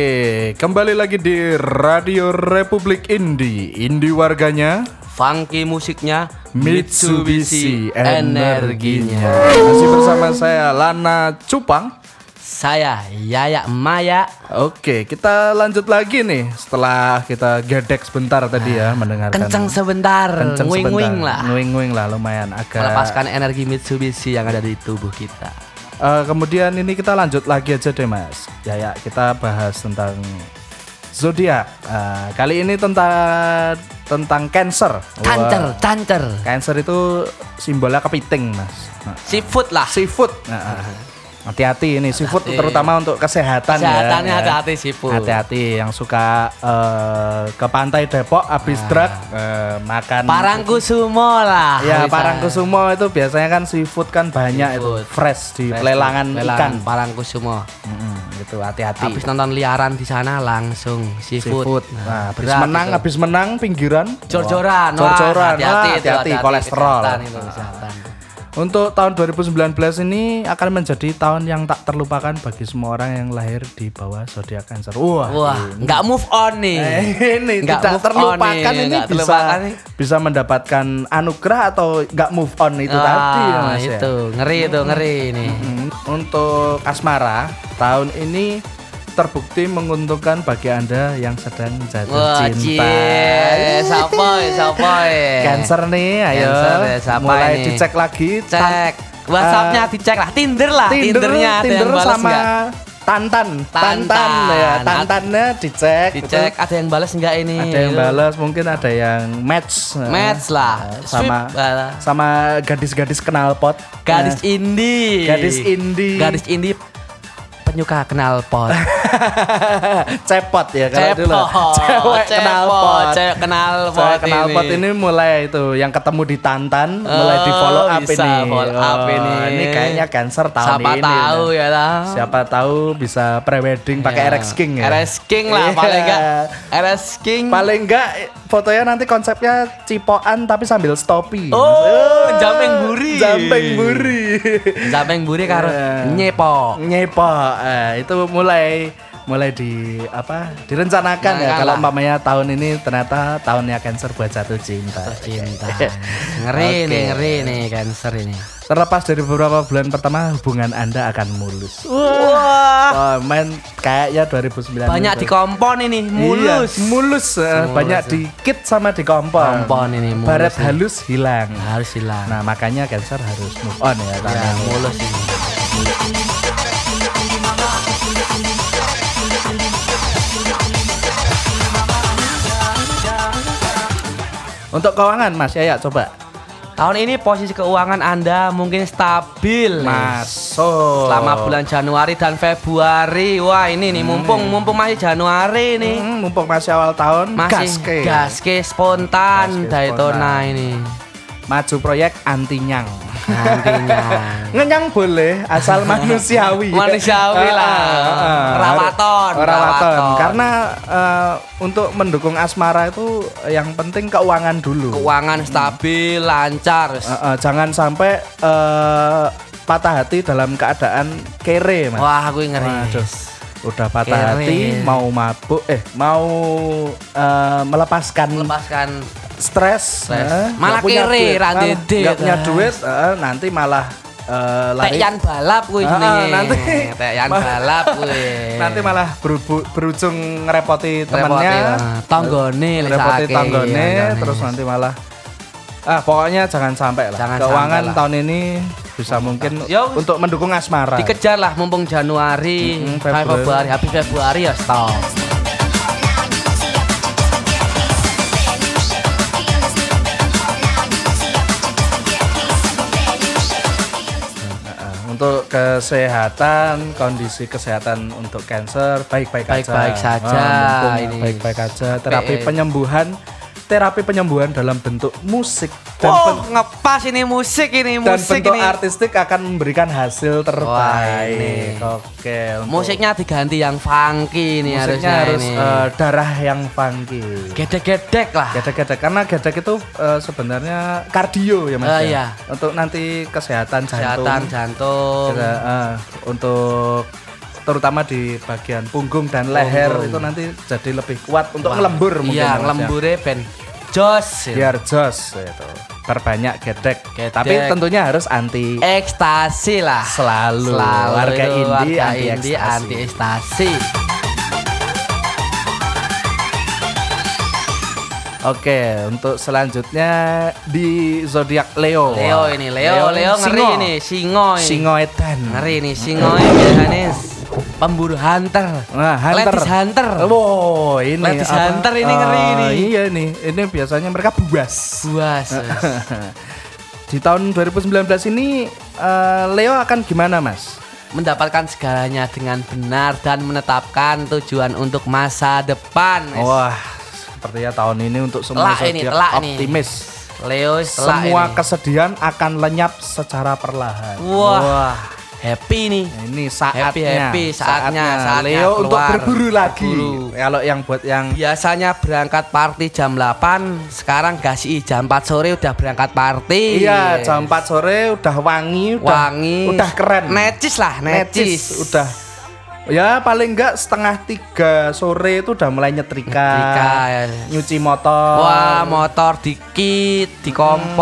Speaker 1: kembali lagi di Radio Republik Indi, Indi warganya
Speaker 2: Funky musiknya
Speaker 1: Mitsubishi energinya.
Speaker 2: energinya.
Speaker 1: Masih bersama saya Lana Cupang.
Speaker 2: Saya Yaya Maya.
Speaker 1: Oke, kita lanjut lagi nih setelah kita gedek sebentar tadi ya mendengarkan
Speaker 2: Ah, Kenceng sebentar,
Speaker 1: Kenceng
Speaker 2: nguing-nguing
Speaker 1: sebentar.
Speaker 2: lah.
Speaker 1: Nguing-nguing lah lumayan agak
Speaker 2: Melepaskan energi Mitsubishi yang ada di tubuh kita.
Speaker 1: Eh, kemudian ini kita lanjut lagi aja deh mas. Ya ya kita bahas tentang zodiak. Eh, kali ini tentang tentang cancer. Wah,
Speaker 2: Cancer, cancer.
Speaker 1: Cancer itu simbolnya kepiting mas. Nah,
Speaker 2: Seafood lah.
Speaker 1: seafood. Nah, ah. Hati-hati ini seafood terutama untuk kesehatan ya.
Speaker 2: Kesehatannya
Speaker 1: Ya.
Speaker 2: hati-hati seafood.
Speaker 1: Hati-hati yang suka eh, ke pantai Depok habis
Speaker 2: Ah.
Speaker 1: truk eh, makan
Speaker 2: Parangkusumo lah.
Speaker 1: Ya,
Speaker 2: Ah, Bisa.
Speaker 1: Parangkusumo itu biasanya kan seafood kan banyak
Speaker 2: Seafood.
Speaker 1: itu fresh di
Speaker 2: Fresh
Speaker 1: pelelangan
Speaker 2: food,
Speaker 1: ikan.
Speaker 2: Parangkusumo.
Speaker 1: Mm-mm, gitu, hati-hati.
Speaker 2: Habis nonton liaran di sana langsung
Speaker 1: seafood.
Speaker 2: seafood.
Speaker 1: Nah, habis menang,
Speaker 2: habis
Speaker 1: habis menang pinggiran.
Speaker 2: jor-joran.
Speaker 1: Wah, jor-joran.
Speaker 2: Wah,
Speaker 1: Wah,
Speaker 2: itu,
Speaker 1: Hati-hati kolesterol. Nah,
Speaker 2: Kesehatan itu, kesehatan.
Speaker 1: Untuk tahun 2019 ini akan menjadi tahun yang tak terlupakan bagi semua orang yang lahir di bawah zodiak Cancer. Wah.
Speaker 2: Wah, nggak move on nih.
Speaker 1: Eh, ini
Speaker 2: Nggak
Speaker 1: tidak
Speaker 2: move on
Speaker 1: terlupakan
Speaker 2: nih,
Speaker 1: ini
Speaker 2: nggak
Speaker 1: bisa
Speaker 2: terlupakan nih.
Speaker 1: bisa mendapatkan anugerah atau nggak move on itu
Speaker 2: Ah,
Speaker 1: tadi ya, Mas, ya.
Speaker 2: itu ngeri itu ngeri ini.
Speaker 1: Hmm, Untuk asmara tahun ini terbukti menguntungkan bagi anda yang sedang jatuh
Speaker 2: Wah, ya,
Speaker 1: cinta.
Speaker 2: cie, sapoy, sapoy.
Speaker 1: Cancer nih, ayo
Speaker 2: Cancer ya, siapa
Speaker 1: mulai
Speaker 2: ini?
Speaker 1: dicek lagi.
Speaker 2: Cek WhatsApp-nya dicek lah, Tinder lah,
Speaker 1: Eh, Tinder,
Speaker 2: Ah, Tindernya ada yang
Speaker 1: Tinder
Speaker 2: bales
Speaker 1: sama
Speaker 2: nggak?
Speaker 1: Tantan,
Speaker 2: Tantan.
Speaker 1: Tantan ya,
Speaker 2: At-
Speaker 1: Tantannya dicek.
Speaker 2: Dicek
Speaker 1: betul.
Speaker 2: ada yang balas nggak ini?
Speaker 1: Ada yang balas, mungkin ada yang match.
Speaker 2: Match lah.
Speaker 1: Eh, sama
Speaker 2: Swipe, eh,
Speaker 1: sama gadis-gadis knalpot.
Speaker 2: Gadis
Speaker 1: Eh,
Speaker 2: indie.
Speaker 1: Gadis indie.
Speaker 2: Gadis indie penyuka kenal pot.
Speaker 1: cepot ya kalau
Speaker 2: Cepot.
Speaker 1: dulu. Cewek knalpot.
Speaker 2: Cewek kenal pot.
Speaker 1: Saya kenal pot ini mulai itu yang ketemu di Tantan mulai di
Speaker 2: Oh,
Speaker 1: follow up
Speaker 2: bisa
Speaker 1: ini.
Speaker 2: follow up
Speaker 1: Oh,
Speaker 2: ini.
Speaker 1: kayaknya cancer tahun
Speaker 2: Siapa
Speaker 1: ini.
Speaker 2: tahu ya lah.
Speaker 1: Siapa tahu bisa prewedding pakai
Speaker 2: Ya.
Speaker 1: RX King ya.
Speaker 2: RX King lah
Speaker 1: Iya.
Speaker 2: paling enggak. RX King.
Speaker 1: Paling enggak eh, fotonya nanti konsepnya cipokan tapi sambil stopi.
Speaker 2: Oh, jamping buri.
Speaker 1: Jamping buri.
Speaker 2: Sampai buri karo
Speaker 1: Iya.
Speaker 2: nyepo.
Speaker 1: Nyepo eh, itu mulai mulai di apa direncanakan ya
Speaker 2: Rencanakan
Speaker 1: kalau
Speaker 2: lah.
Speaker 1: umpamanya tahun ini ternyata tahunnya cancer buat jatuh cinta.
Speaker 2: Cinta. Ngeri
Speaker 1: Oke.
Speaker 2: nih, ngeri nih cancer ini.
Speaker 1: Terlepas dari beberapa bulan pertama hubungan Anda akan mulus.
Speaker 2: Wah,
Speaker 1: Wah, men kayaknya 2019.
Speaker 2: banyak di kompon ini,
Speaker 1: Iya,
Speaker 2: mulus.
Speaker 1: mulus, eh, banyak dikit sama di kompon.
Speaker 2: Kompon ini Ah. mulus
Speaker 1: Barat
Speaker 2: nih.
Speaker 1: halus hilang.
Speaker 2: Harus hilang.
Speaker 1: Nah, makanya cancer harus move on ya.
Speaker 2: Ya,
Speaker 1: karena
Speaker 2: mulus ini.
Speaker 1: Untuk keuangan Mas Yaya coba.
Speaker 2: Tahun ini posisi keuangan Anda mungkin stabil.
Speaker 1: Masuk.
Speaker 2: Selama bulan Januari dan Februari. Wah, ini nih mumpung mumpung masih Januari nih.
Speaker 1: Hmm, mumpung masih awal tahun,
Speaker 2: Masih
Speaker 1: gaske.
Speaker 2: gaske
Speaker 1: Gaske
Speaker 2: spontan Daytona
Speaker 1: spontan.
Speaker 2: ini.
Speaker 1: Maju proyek anti nyang.
Speaker 2: Nantinya.
Speaker 1: Ngenyang boleh asal manusiawi.
Speaker 2: Manusiawi
Speaker 1: Ah,
Speaker 2: lah.
Speaker 1: ah, ah.
Speaker 2: Rawaton,
Speaker 1: Rawaton.
Speaker 2: rawaton.
Speaker 1: Karena eh, untuk mendukung asmara itu yang penting keuangan dulu.
Speaker 2: Keuangan stabil, lancar.
Speaker 1: Eh, eh, jangan sampai eh, patah hati dalam keadaan kere, Mas.
Speaker 2: Wah, aku ngeri.
Speaker 1: Waduh. Udah patah
Speaker 2: Kere.
Speaker 1: hati, mau mabuk, eh mau eh, melepaskan
Speaker 2: Lepaskan
Speaker 1: stres,
Speaker 2: Stres.
Speaker 1: eh, nggak
Speaker 2: Malah
Speaker 1: punya
Speaker 2: kere,
Speaker 1: duit,
Speaker 2: ra
Speaker 1: malah
Speaker 2: ndede,
Speaker 1: nggak punya
Speaker 2: Mas.
Speaker 1: duit, eh, nanti malah eh, lari.
Speaker 2: Tekian balap kuwi
Speaker 1: Ah,
Speaker 2: jenenge.
Speaker 1: nanti-
Speaker 2: tekian
Speaker 1: Ma-
Speaker 2: balap kuwi.
Speaker 1: Nanti malah berubu- berujung ngerepoti temennya,
Speaker 2: Repoti, ah, tanggone lek
Speaker 1: ngerepoti
Speaker 2: saake,
Speaker 1: tanggone,
Speaker 2: iya,
Speaker 1: terus nanti malah ah pokoknya jangan sampai lah.
Speaker 2: Jangan
Speaker 1: Keuangan
Speaker 2: sampai lah.
Speaker 1: tahun ini bisa mungkin
Speaker 2: Ya,
Speaker 1: untuk mendukung asmara.
Speaker 2: dikejar lah mumpung Januari,
Speaker 1: Mm-mm,
Speaker 2: sampai
Speaker 1: Februari.
Speaker 2: Februari, habis Februari ya stop.
Speaker 1: Nah, Untuk kesehatan, kondisi kesehatan untuk kanker baik-baik aja.
Speaker 2: Baik-baik saja,
Speaker 1: Ah, mumpung
Speaker 2: ini.
Speaker 1: baik-baik aja. Terapi
Speaker 2: Baik.
Speaker 1: penyembuhan, terapi penyembuhan dalam bentuk musik dan
Speaker 2: oh,
Speaker 1: ben-
Speaker 2: ngepas ini musik ini
Speaker 1: dan
Speaker 2: musik
Speaker 1: bentuk
Speaker 2: ini.
Speaker 1: artistik akan memberikan hasil
Speaker 2: Wah,
Speaker 1: terbaik.
Speaker 2: ini.
Speaker 1: Oke. untuk-
Speaker 2: Musiknya diganti yang funky ini
Speaker 1: musiknya
Speaker 2: harusnya
Speaker 1: harus
Speaker 2: ini.
Speaker 1: eh, darah yang funky.
Speaker 2: Gedek-gedek lah.
Speaker 1: Gedek-gedek karena gedek itu eh, sebenarnya kardio ya Mas.
Speaker 2: Ah,
Speaker 1: ya?
Speaker 2: iya.
Speaker 1: Untuk nanti kesehatan jantung.
Speaker 2: Kesehatan jantung.
Speaker 1: Kita, eh, untuk terutama di bagian punggung dan leher itu nanti jadi lebih kuat untuk ngelembur mungkin ya, Mas,
Speaker 2: Iya,
Speaker 1: ya.
Speaker 2: lembure ben jos.
Speaker 1: biar jos itu perbanyak gedek.
Speaker 2: Gedek. Eh.
Speaker 1: tapi tentunya harus anti
Speaker 2: ekstasi lah.
Speaker 1: Selalu.
Speaker 2: Selalu
Speaker 1: Warga
Speaker 2: itu,
Speaker 1: indie
Speaker 2: warga
Speaker 1: anti
Speaker 2: indie
Speaker 1: ekstasi.
Speaker 2: anti ekstasi.
Speaker 1: Oke, untuk selanjutnya di zodiak Leo.
Speaker 2: Leo ini, Leo, Leo ngeri
Speaker 1: singo.
Speaker 2: ini, singo ini.
Speaker 1: Singo edan.
Speaker 2: Ngeri nih, singo ini biasanya pemburu hunter.
Speaker 1: Nah, hunter.
Speaker 2: Ladies hunter.
Speaker 1: Wow, ini.
Speaker 2: Ladies
Speaker 1: apa?
Speaker 2: hunter ini ngeri
Speaker 1: Ah,
Speaker 2: ini.
Speaker 1: Iya nih, ini biasanya mereka buas.
Speaker 2: Buas.
Speaker 1: Di tahun 2019 ini eh, Leo akan gimana, Mas?
Speaker 2: mendapatkan segalanya dengan benar dan menetapkan tujuan untuk masa depan. Wes.
Speaker 1: Wah, sepertinya tahun ini untuk semua
Speaker 2: Telak ini,
Speaker 1: zodiak
Speaker 2: telak ini.
Speaker 1: optimis.
Speaker 2: Leo setelah
Speaker 1: Semua
Speaker 2: ini.
Speaker 1: kesedihan akan lenyap secara perlahan.
Speaker 2: Wah, happy nih.
Speaker 1: Nah, Ini saatnya,
Speaker 2: Happy-happy, saatnya, saatnya
Speaker 1: Leo untuk
Speaker 2: keluar.
Speaker 1: berburu lagi.
Speaker 2: Berburu.
Speaker 1: Kalau yang buat yang
Speaker 2: Biasanya berangkat party jam 8, sekarang gasi jam 4 sore udah berangkat party.
Speaker 1: Iya, jam 4 sore udah wangi, udah
Speaker 2: wangi.
Speaker 1: udah keren.
Speaker 2: Necis lah, necis.
Speaker 1: udah. Ya paling enggak setengah tiga sore itu udah mulai nyetrika,
Speaker 2: Nyetrika, ya.
Speaker 1: nyuci motor,
Speaker 2: Wah, motor dikit, dikompon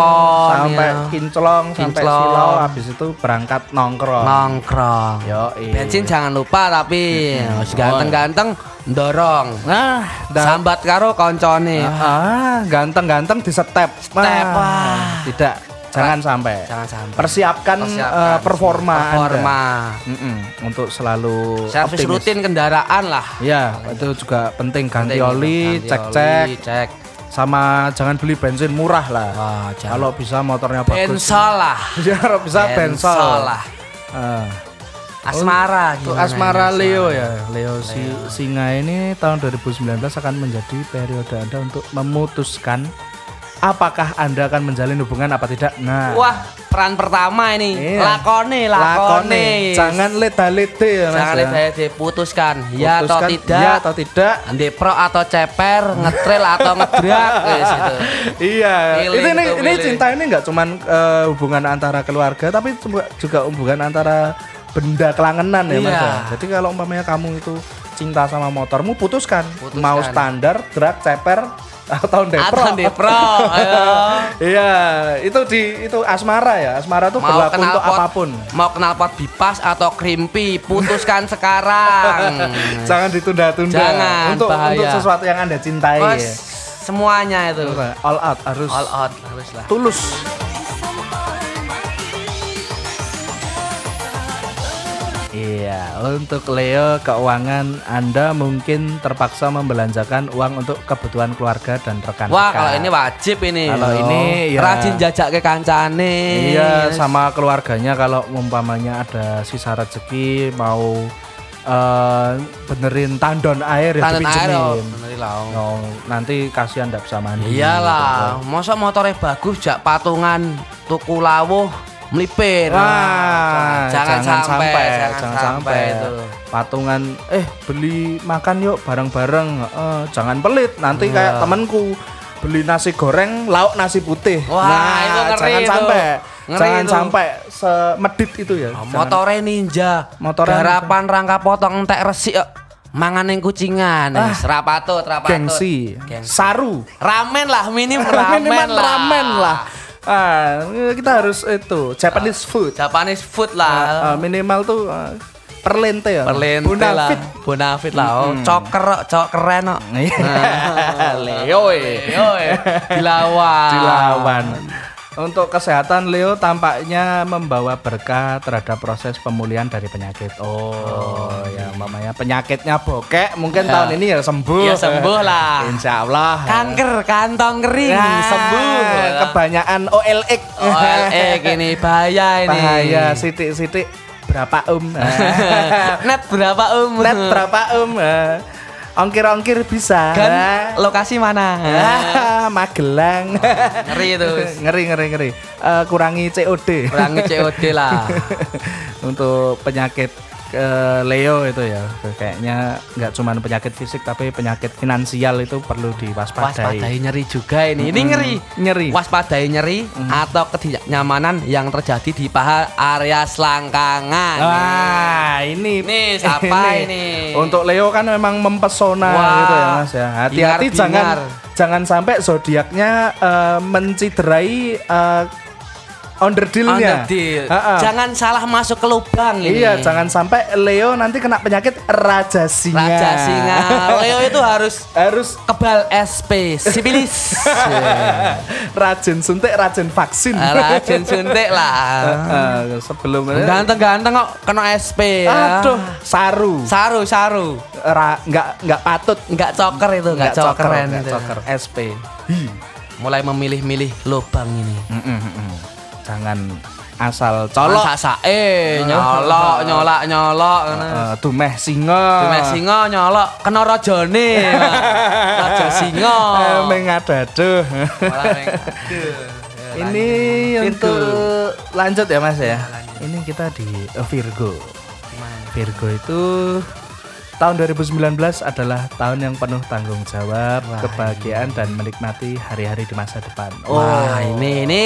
Speaker 1: Hmm, sampai
Speaker 2: ya.
Speaker 1: kinclong, sampai
Speaker 2: Kinclong.
Speaker 1: silau, habis itu berangkat nongkrong.
Speaker 2: nongkrong.
Speaker 1: Oh. Yoi.
Speaker 2: Bensin jangan lupa tapi harus ganteng-ganteng dorong.
Speaker 1: Nah, dan
Speaker 2: Sambat karo koncone.
Speaker 1: ah, ganteng-ganteng di step. Nah,
Speaker 2: wah.
Speaker 1: Tidak, jangan sampai.
Speaker 2: Jangan sampai.
Speaker 1: Persiapkan,
Speaker 2: Persiapkan
Speaker 1: eh, performa, Anda.
Speaker 2: Performa.
Speaker 1: Mm-mm, untuk selalu
Speaker 2: Servis
Speaker 1: optimis.
Speaker 2: rutin kendaraan lah.
Speaker 1: Ya, itu juga penting ganti
Speaker 2: Penting,
Speaker 1: oli,
Speaker 2: ganti oli,
Speaker 1: cek-cek
Speaker 2: cek.
Speaker 1: sama jangan beli bensin murah lah.
Speaker 2: Wah, jangan.
Speaker 1: Kalau bisa motornya bagus.
Speaker 2: Bensol lah.
Speaker 1: Ya, kalau bisa bensol.
Speaker 2: Bensol lah.
Speaker 1: Ah,
Speaker 2: Asmara
Speaker 1: Untuk
Speaker 2: gimana
Speaker 1: Oh, asmara
Speaker 2: ini?
Speaker 1: Leo ya. Leo, si singa ini tahun 2019 akan menjadi periode Anda untuk memutuskan apakah Anda akan menjalin hubungan apa tidak. Nah,
Speaker 2: Wah, peran pertama ini.
Speaker 1: Iya.
Speaker 2: Lakone, lakone.
Speaker 1: lakone. Jangan leda-lede ya, Mas.
Speaker 2: Jangan
Speaker 1: ya.
Speaker 2: saya diputuskan. Ya atau
Speaker 1: Putuskan
Speaker 2: tidak.
Speaker 1: ya atau tidak.
Speaker 2: Ande pro atau ceper, ngetril atau ngedrak gitu. guys itu.
Speaker 1: iya
Speaker 2: Pilih
Speaker 1: itu ini,
Speaker 2: itu,
Speaker 1: ini
Speaker 2: pilih.
Speaker 1: cinta ini nggak cuman eh, hubungan antara keluarga tapi juga- juga hubungan antara benda kelangenan ya mas
Speaker 2: Iya.
Speaker 1: ya. jadi kalau umpamanya kamu itu cinta sama motormu putuskan,
Speaker 2: Putuskan.
Speaker 1: mau standar drag ceper atau depro
Speaker 2: Atau ande pro. ayo.
Speaker 1: iya itu di itu asmara ya asmara tuh
Speaker 2: Mau
Speaker 1: berlaku
Speaker 2: kenal
Speaker 1: untuk
Speaker 2: pot,
Speaker 1: apapun
Speaker 2: mau kenal pot bipas atau krimpi, putuskan sekarang.
Speaker 1: jangan ditunda-tunda
Speaker 2: Jangan,
Speaker 1: untuk
Speaker 2: bahaya.
Speaker 1: untuk sesuatu yang anda cintai
Speaker 2: Bos,
Speaker 1: ya.
Speaker 2: semuanya itu.
Speaker 1: all out harus
Speaker 2: All out harus lah.
Speaker 1: tulus Iya, untuk Leo keuangan Anda mungkin terpaksa membelanjakan uang untuk kebutuhan keluarga dan rekan-rekan.
Speaker 2: Wah, kalau ini wajib ini.
Speaker 1: Kalau
Speaker 2: Yo.
Speaker 1: ini, ya.
Speaker 2: rajin jajak ke kancane.
Speaker 1: Iya, sama keluarganya kalau umpamanya ada sisa rezeki mau eh, benerin tandon air ya
Speaker 2: Tangan air. oh,
Speaker 1: dipinjemin.
Speaker 2: bener lah, oh.
Speaker 1: No, nanti kasihan ndak bisa mandi. Gitu.
Speaker 2: Iyalah, masa motornya bagus jak patungan tuku lawuh melipir.
Speaker 1: Wah,
Speaker 2: jangan, jangan sampai, jangan, sampai, itu.
Speaker 1: Patungan, eh beli makan yuk bareng-bareng. Eh, jangan pelit, nanti
Speaker 2: Iya.
Speaker 1: kayak temanku beli nasi goreng, lauk nasi putih. Nah,
Speaker 2: Wah, itu ngeri
Speaker 1: jangan
Speaker 2: itu.
Speaker 1: sampai,
Speaker 2: Ngeri
Speaker 1: jangan
Speaker 2: itu.
Speaker 1: sampai semedit itu ya.
Speaker 2: Oh,
Speaker 1: Jangan.
Speaker 2: Motore ninja.
Speaker 1: Motornya
Speaker 2: garapan rangka potong entek resik kok. Mangan yang kucingan. Ah, rapatut, rapatut.
Speaker 1: gengsi,
Speaker 2: Gengsi.
Speaker 1: saru.
Speaker 2: Ramen lah, minim ramen
Speaker 1: Minimal
Speaker 2: lah.
Speaker 1: ramen lah. Ah, kita harus itu Japanese food.
Speaker 2: Japanese
Speaker 1: Ah,
Speaker 2: food lah.
Speaker 1: ah, minimal tuh ah, perlente ya.
Speaker 2: Perlente lah.
Speaker 1: Bonafit.
Speaker 2: Bonafit lah. Oh, Coker, oh. kok, cok keren kok. Nah.
Speaker 1: Leo eh.
Speaker 2: Yoi, dilawan.
Speaker 1: dilawan. Untuk kesehatan Leo tampaknya membawa berkah terhadap proses pemulihan dari penyakit. Oh, ya mamanya penyakitnya bokek mungkin tahun ini ya sembuh.
Speaker 2: Ya, sembuh lah.
Speaker 1: Insya Allah.
Speaker 2: Kanker, kantong kering,
Speaker 1: Ya,
Speaker 2: sembuh.
Speaker 1: Kebanyakan OLX.
Speaker 2: OLX ini bahaya ini.
Speaker 1: Bahaya sitik-sitik berapa um.
Speaker 2: Net berapa um?
Speaker 1: Net berapa um. Ongkir-ongkir bisa.
Speaker 2: Kan lokasi mana?
Speaker 1: Ah, Magelang.
Speaker 2: Ngeri itu.
Speaker 1: ngeri ngeri ngeri. Eh, kurangi COD.
Speaker 2: Kurangi COD lah.
Speaker 1: Untuk penyakit eh, Leo itu ya. Kayaknya nggak cuman penyakit fisik tapi penyakit finansial itu perlu diwaspadai.
Speaker 2: Waspadai nyeri juga ini. Ini ngeri.
Speaker 1: Nyeri. Mm.
Speaker 2: Waspadai nyeri atau ketidaknyamanan yang terjadi di paha area selangkangan.
Speaker 1: Ah, Wah, ini
Speaker 2: Ini siapa ini?
Speaker 1: Untuk Leo kan memang mempesona
Speaker 2: Wah,
Speaker 1: gitu ya Mas ya. Hati-hati
Speaker 2: hingar-bingar.
Speaker 1: jangan jangan sampai zodiaknya eh, menciderai eh, underdeal-nya.
Speaker 2: Underdeal.
Speaker 1: Ha-ha.
Speaker 2: Jangan salah masuk ke lubang ini.
Speaker 1: Iya, jangan sampai Leo nanti kena penyakit raja singa.
Speaker 2: Raja singa. Leo itu harus
Speaker 1: Harus
Speaker 2: kebal SP, sipilis.
Speaker 1: rajin suntik, rajin vaksin.
Speaker 2: Rajin suntik lah.
Speaker 1: Heeh, sebelum
Speaker 2: Ganteng-ganteng kok kena SP ya.
Speaker 1: Aduh, saru.
Speaker 2: Saru, saru.
Speaker 1: Ra- nggak nggak patut.
Speaker 2: Enggak coker itu,
Speaker 1: Nggak
Speaker 2: enggak coker, gitu ya.
Speaker 1: nggak coker. SP.
Speaker 2: Hmm. Mulai memilih-milih lubang ini.
Speaker 1: Jangan asal colok
Speaker 2: Colok sae nyolok nyolak nyolok ngono.
Speaker 1: Eh, tumeh singa
Speaker 2: Tumeh singa nyolok kena rajane. Raja singa.
Speaker 1: Eh, mengadaduh.
Speaker 2: Malah meng- Aduh.
Speaker 1: ini untuk lanjut ya mas ya ini kita di eh, Virgo Virgo itu tahun 2019 adalah tahun yang penuh tanggung jawab kebahagiaan dan menikmati hari-hari di masa depan iya. oh
Speaker 2: Wah, ini ini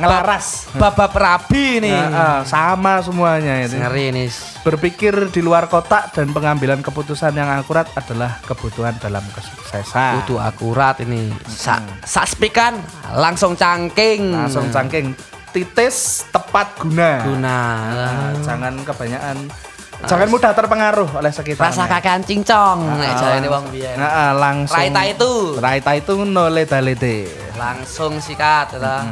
Speaker 1: ngelaras
Speaker 2: babak perabi nih.
Speaker 1: Nah, eh, sama semuanya itu
Speaker 2: Ngeri nih.
Speaker 1: Berpikir di luar kotak dan pengambilan keputusan yang akurat adalah kebutuhan dalam kesuksesan.
Speaker 2: Kudu akurat ini. Sa saspikan langsung cangking.
Speaker 1: Langsung cangking, titis tepat guna.
Speaker 2: guna.
Speaker 1: Nah, jangan kebanyakan, ah, jangan mudah terpengaruh oleh sekitar.
Speaker 2: Rasa kakean cincong nek jarene wong
Speaker 1: Ah.
Speaker 2: biyen.
Speaker 1: Nah, ah, langsung.
Speaker 2: Raita itu.
Speaker 1: Raita itu nole dalete.
Speaker 2: Langsung sikat ya. toh.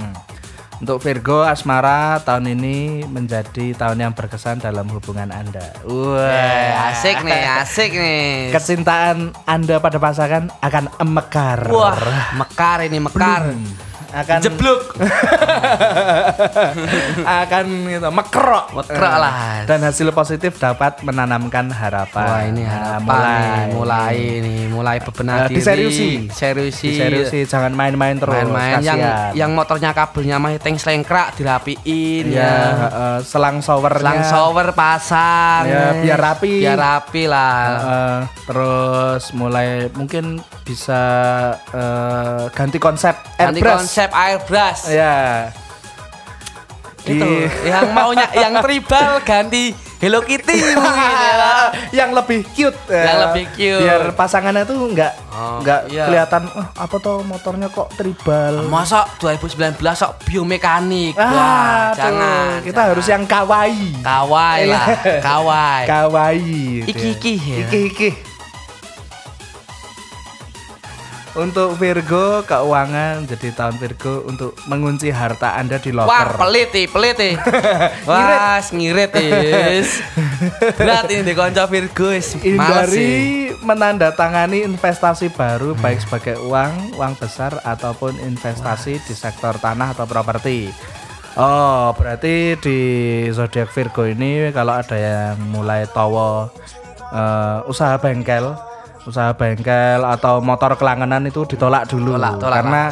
Speaker 1: Untuk Virgo asmara tahun ini menjadi tahun yang berkesan dalam hubungan Anda.
Speaker 2: Eh,
Speaker 1: Wah,
Speaker 2: asik nih, asik nih.
Speaker 1: Kecintaan Anda pada pasangan akan mekar.
Speaker 2: Wah, mekar ini mekar.
Speaker 1: akan
Speaker 2: Jebluk.
Speaker 1: akan gitu mekerok
Speaker 2: Mekerok
Speaker 1: Eh,
Speaker 2: lah.
Speaker 1: dan hasil positif dapat menanamkan harapan
Speaker 2: Wah, ini
Speaker 1: Nah,
Speaker 2: harapan mulai, mulai nih, mulai
Speaker 1: Nah,
Speaker 2: bebenah diri.
Speaker 1: diseriusi
Speaker 2: seriusi.
Speaker 1: Diseriusi, jangan main-main terus
Speaker 2: Main-main yang
Speaker 1: kasihan.
Speaker 2: yang motornya kabelnya masih tank selengkrak dirapiin
Speaker 1: ya eh, selang showernya
Speaker 2: Selang shower pasang.
Speaker 1: Ya, biar rapi.
Speaker 2: Biar rapi lah.
Speaker 1: eh, terus mulai mungkin bisa eh, ganti konsep
Speaker 2: Nanti
Speaker 1: airbrush.
Speaker 2: konsep airbrush.
Speaker 1: ya
Speaker 2: Gitu.
Speaker 1: Di-
Speaker 2: yang maunya yang tribal ganti Hello Kitty mungkin ya.
Speaker 1: Ah, yang lebih cute
Speaker 2: Yang
Speaker 1: eh,
Speaker 2: lebih cute.
Speaker 1: biar pasangannya tuh nggak
Speaker 2: Oh,
Speaker 1: nggak
Speaker 2: iya.
Speaker 1: kelihatan "Ah, apa tuh motornya kok tribal
Speaker 2: Masa 2019 sok biomekanik.
Speaker 1: Ah,
Speaker 2: Wah,
Speaker 1: tuh,
Speaker 2: jangan.
Speaker 1: kita
Speaker 2: jangan.
Speaker 1: harus yang Iya. kawaii
Speaker 2: kawai lah, kawai.
Speaker 1: kawaii gitu ya.
Speaker 2: Iki-iki ya.
Speaker 1: iki-iki untuk Virgo keuangan jadi tahun Virgo untuk mengunci harta anda di
Speaker 2: Wah,
Speaker 1: loker
Speaker 2: pelit ih, pelit ih. Wah, ngirit is. Berat ini di konco Virgo is. Males sih. Hmm.
Speaker 1: Hindari menandatangani investasi baru baik sebagai uang, uang besar ataupun investasi di sektor tanah atau properti. Oh, berarti di zodiak Virgo ini kalau ada yang mulai towo eh, usaha bengkel, usaha bengkel atau motor kelangenan itu ditolak dulu
Speaker 2: Tolak, tolak,
Speaker 1: karena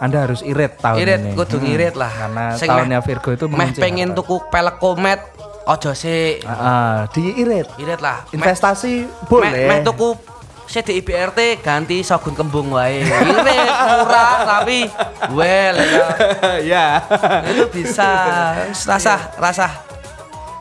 Speaker 1: anda harus irit tahun
Speaker 2: Irit,
Speaker 1: ini.
Speaker 2: kudu
Speaker 1: Hmm,
Speaker 2: ngirit lah.
Speaker 1: Karena
Speaker 2: Sing
Speaker 1: tahunnya
Speaker 2: meh-
Speaker 1: Virgo itu
Speaker 2: meh
Speaker 1: mengunci
Speaker 2: pengen
Speaker 1: harta.
Speaker 2: tuku pelek komet ojo sih.
Speaker 1: Ah, ah, diirit.
Speaker 2: Irit lah. Meh-
Speaker 1: Investasi
Speaker 2: meh,
Speaker 1: boleh.
Speaker 2: meh tuku CDI BRT ganti Shogun Kembung wae. Irit murah tapi well ya.
Speaker 1: ya.
Speaker 2: itu bisa rasa rasa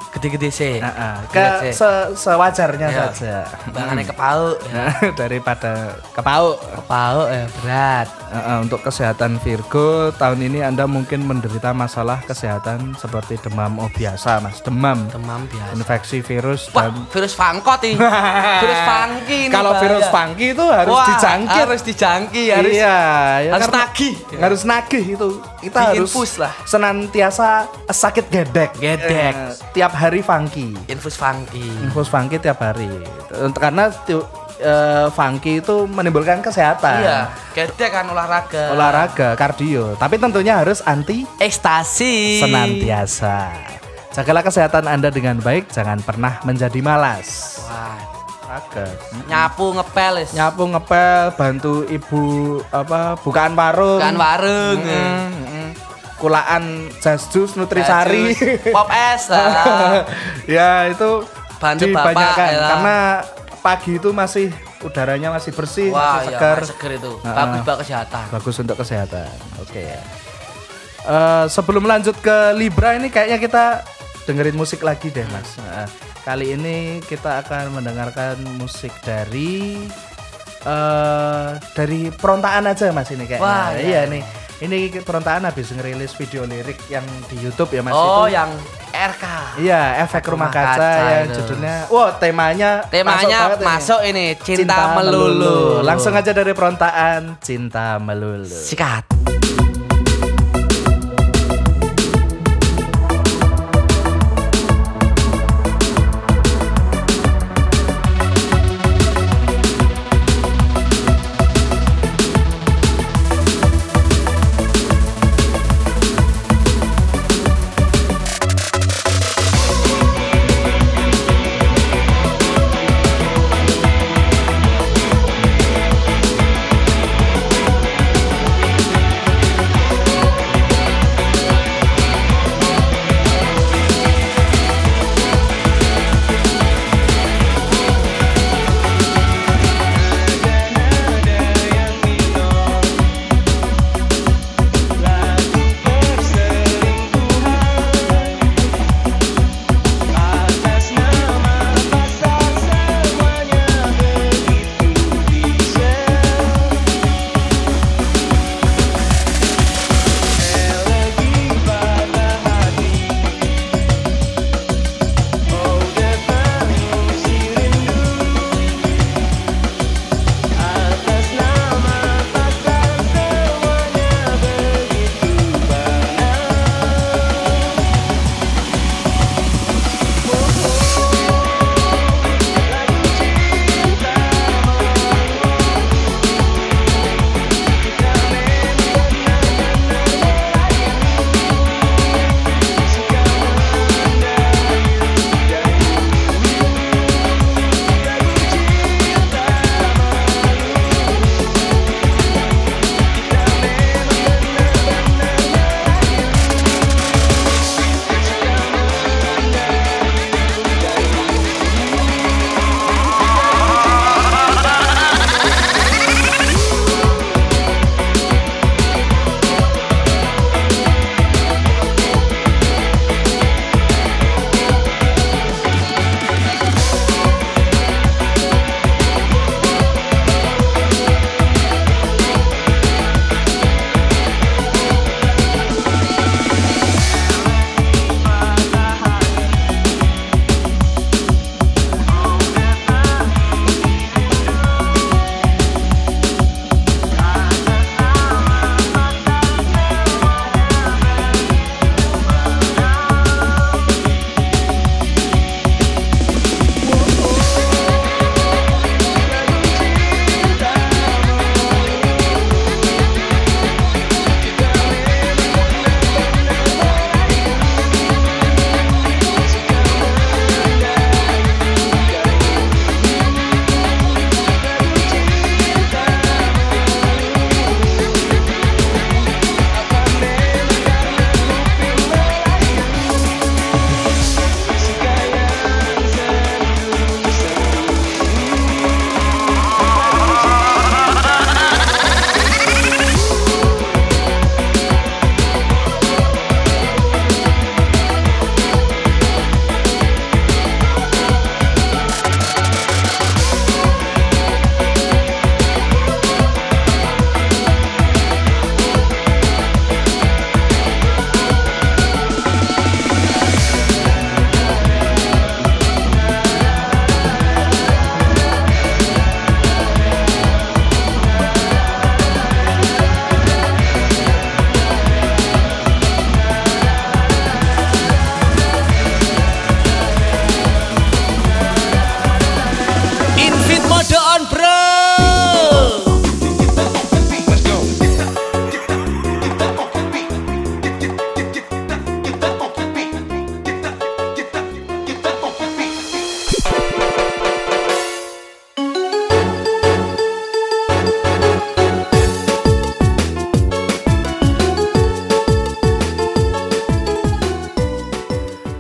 Speaker 2: gede-gede sih.
Speaker 1: Heeh, ke
Speaker 2: Irit sih.
Speaker 1: se- sewajarnya
Speaker 2: Iya.
Speaker 1: saja.
Speaker 2: Bangane kepauk. ya.
Speaker 1: Nah, daripada kepauk.
Speaker 2: Kepauk ya berat.
Speaker 1: Heeh, untuk kesehatan Virgo tahun ini Anda mungkin menderita masalah kesehatan seperti demam oh biasa Mas, demam,
Speaker 2: Demam biasa.
Speaker 1: infeksi virus
Speaker 2: Wah,
Speaker 1: dan
Speaker 2: virus fangkot nih. virus fangki ini
Speaker 1: kalau
Speaker 2: bahaya.
Speaker 1: virus funky itu harus
Speaker 2: Wah,
Speaker 1: dijangkir.
Speaker 2: Harus dijangkir, harus
Speaker 1: iya, ya
Speaker 2: harus
Speaker 1: karena-
Speaker 2: nagih.
Speaker 1: Harus nagih itu. Kita
Speaker 2: Bikin
Speaker 1: harus
Speaker 2: push lah.
Speaker 1: senantiasa sakit gedek.
Speaker 2: Gedek.
Speaker 1: Eh, tiap hari funky.
Speaker 2: infus funky.
Speaker 1: infus funky tiap hari Untuk- karena tiu- eh, funky itu menimbulkan kesehatan
Speaker 2: Iya, gedek kan olahraga.
Speaker 1: olahraga kardio tapi tentunya harus anti
Speaker 2: Ekstasi.
Speaker 1: senantiasa jagalah kesehatan anda dengan baik jangan pernah menjadi malas
Speaker 2: Wah,
Speaker 1: olahraga
Speaker 2: nyapu ngepel is.
Speaker 1: nyapu ngepel bantu ibu apa bukaan warung
Speaker 2: Bukan Kan warung.
Speaker 1: Mm, mm. kulaan jas jus nutrisari
Speaker 2: Jus, Pop es. ah. lah.
Speaker 1: ya itu
Speaker 2: Bantu
Speaker 1: dibanyakan
Speaker 2: bapak, ya.
Speaker 1: karena pagi itu masih udaranya masih bersih
Speaker 2: Wah,
Speaker 1: masih
Speaker 2: ya,
Speaker 1: segar
Speaker 2: seger itu.
Speaker 1: Heeh.
Speaker 2: Bagus buat kesehatan.
Speaker 1: bagus untuk kesehatan oke ya Eh, sebelum lanjut ke Libra ini kayaknya kita dengerin musik lagi deh mas Nah, kali ini kita akan mendengarkan musik dari eh dari perontaan aja mas ini kayaknya
Speaker 2: Wah,
Speaker 1: iya, nih ini perontaan habis ngerilis video lirik yang di YouTube ya mas
Speaker 2: Oh,
Speaker 1: itu
Speaker 2: yang RK.
Speaker 1: Iya, efek rumah,
Speaker 2: Rumah
Speaker 1: kaca,
Speaker 2: kaca
Speaker 1: yang
Speaker 2: itu.
Speaker 1: judulnya. Wah, temanya
Speaker 2: Temanya
Speaker 1: banget ini.
Speaker 2: masuk ini, cinta, melulu.
Speaker 1: Langsung aja dari perontaan Cinta Melulu.
Speaker 2: sikat.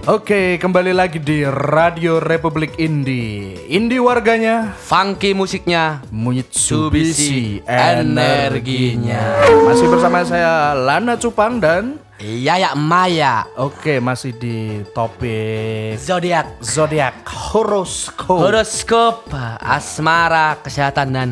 Speaker 1: Oke, kembali lagi di Radio Republik Indi. Indi warganya
Speaker 2: Funky musiknya
Speaker 1: Mitsubishi
Speaker 2: Mitsubishi energinya.
Speaker 1: Masih bersama saya Lana Cupang dan
Speaker 2: Iya ya Maya
Speaker 1: oke masih di topik
Speaker 2: Zodiak
Speaker 1: zodiak horoskop.
Speaker 2: Horoskop Asmara Kesehatan dan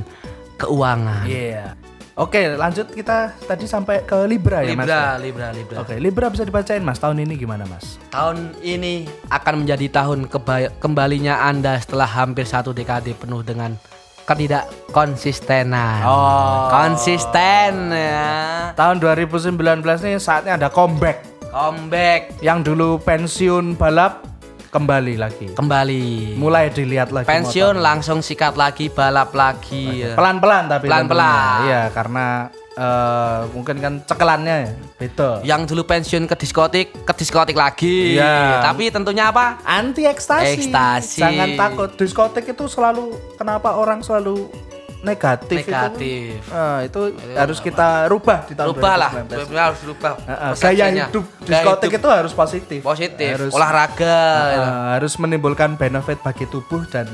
Speaker 2: Keuangan
Speaker 1: Iya. Oke, lanjut kita tadi sampai ke Libra ya, Mas.
Speaker 2: Libra, Libra, Libra
Speaker 1: Oke, Libra bisa dibacain, Mas. Tahun ini gimana, Mas?
Speaker 2: Tahun ini akan menjadi tahun keba- kembalinya Anda setelah hampir satu dekade penuh dengan ketidak konsistenan.
Speaker 1: Oh.
Speaker 2: Konsisten ya.
Speaker 1: Tahun 2019 nih saatnya ada comeback.
Speaker 2: Comeback
Speaker 1: Yang dulu pensiun balap kembali lagi.
Speaker 2: kembali.
Speaker 1: Mulai dilihat lagi
Speaker 2: Pensiun
Speaker 1: motornya.
Speaker 2: langsung sikat lagi, balap lagi. ya.
Speaker 1: Pelan-pelan tapi
Speaker 2: Pelan-pelan.
Speaker 1: tentunya. Iya, karena eh, mungkin kan cekelannya ya, beda.
Speaker 2: Yang dulu pensiun ke diskotik, ke diskotik lagi.
Speaker 1: Iya.
Speaker 2: Tapi tentunya apa?
Speaker 1: Anti ekstasi.
Speaker 2: Ekstasi.
Speaker 1: Jangan takut. Diskotik itu selalu kenapa orang selalu negatif, itu?
Speaker 2: Negatif.
Speaker 1: Eh, itu harus kita rubah di tahun
Speaker 2: Rubah lah,
Speaker 1: 2019.
Speaker 2: sebenarnya harus rubah.
Speaker 1: Heeh, gaya
Speaker 2: persepsinya.
Speaker 1: hidup
Speaker 2: Gaya
Speaker 1: diskotik
Speaker 2: hidup
Speaker 1: itu harus positif.
Speaker 2: positif,
Speaker 1: Harus,
Speaker 2: olahraga.
Speaker 1: eh,
Speaker 2: ya.
Speaker 1: harus menimbulkan benefit bagi tubuh dan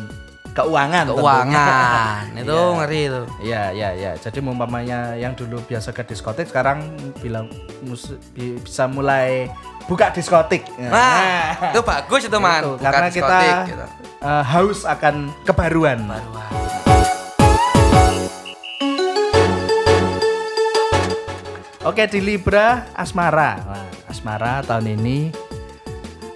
Speaker 1: keuangan. tentunya.
Speaker 2: keuangan itu ngeri itu
Speaker 1: Iya, iya, iya. Jadi umpamanya yang dulu biasa ke diskotik sekarang bilang mus- bi- bisa mulai buka diskotik.
Speaker 2: nah itu bagus itu Gitu, man
Speaker 1: Itu,
Speaker 2: Bukan
Speaker 1: Gitu, karena kita
Speaker 2: diskotik, gitu.
Speaker 1: eh, haus akan kebaruan. Oke di Libra asmara. Nah, asmara tahun ini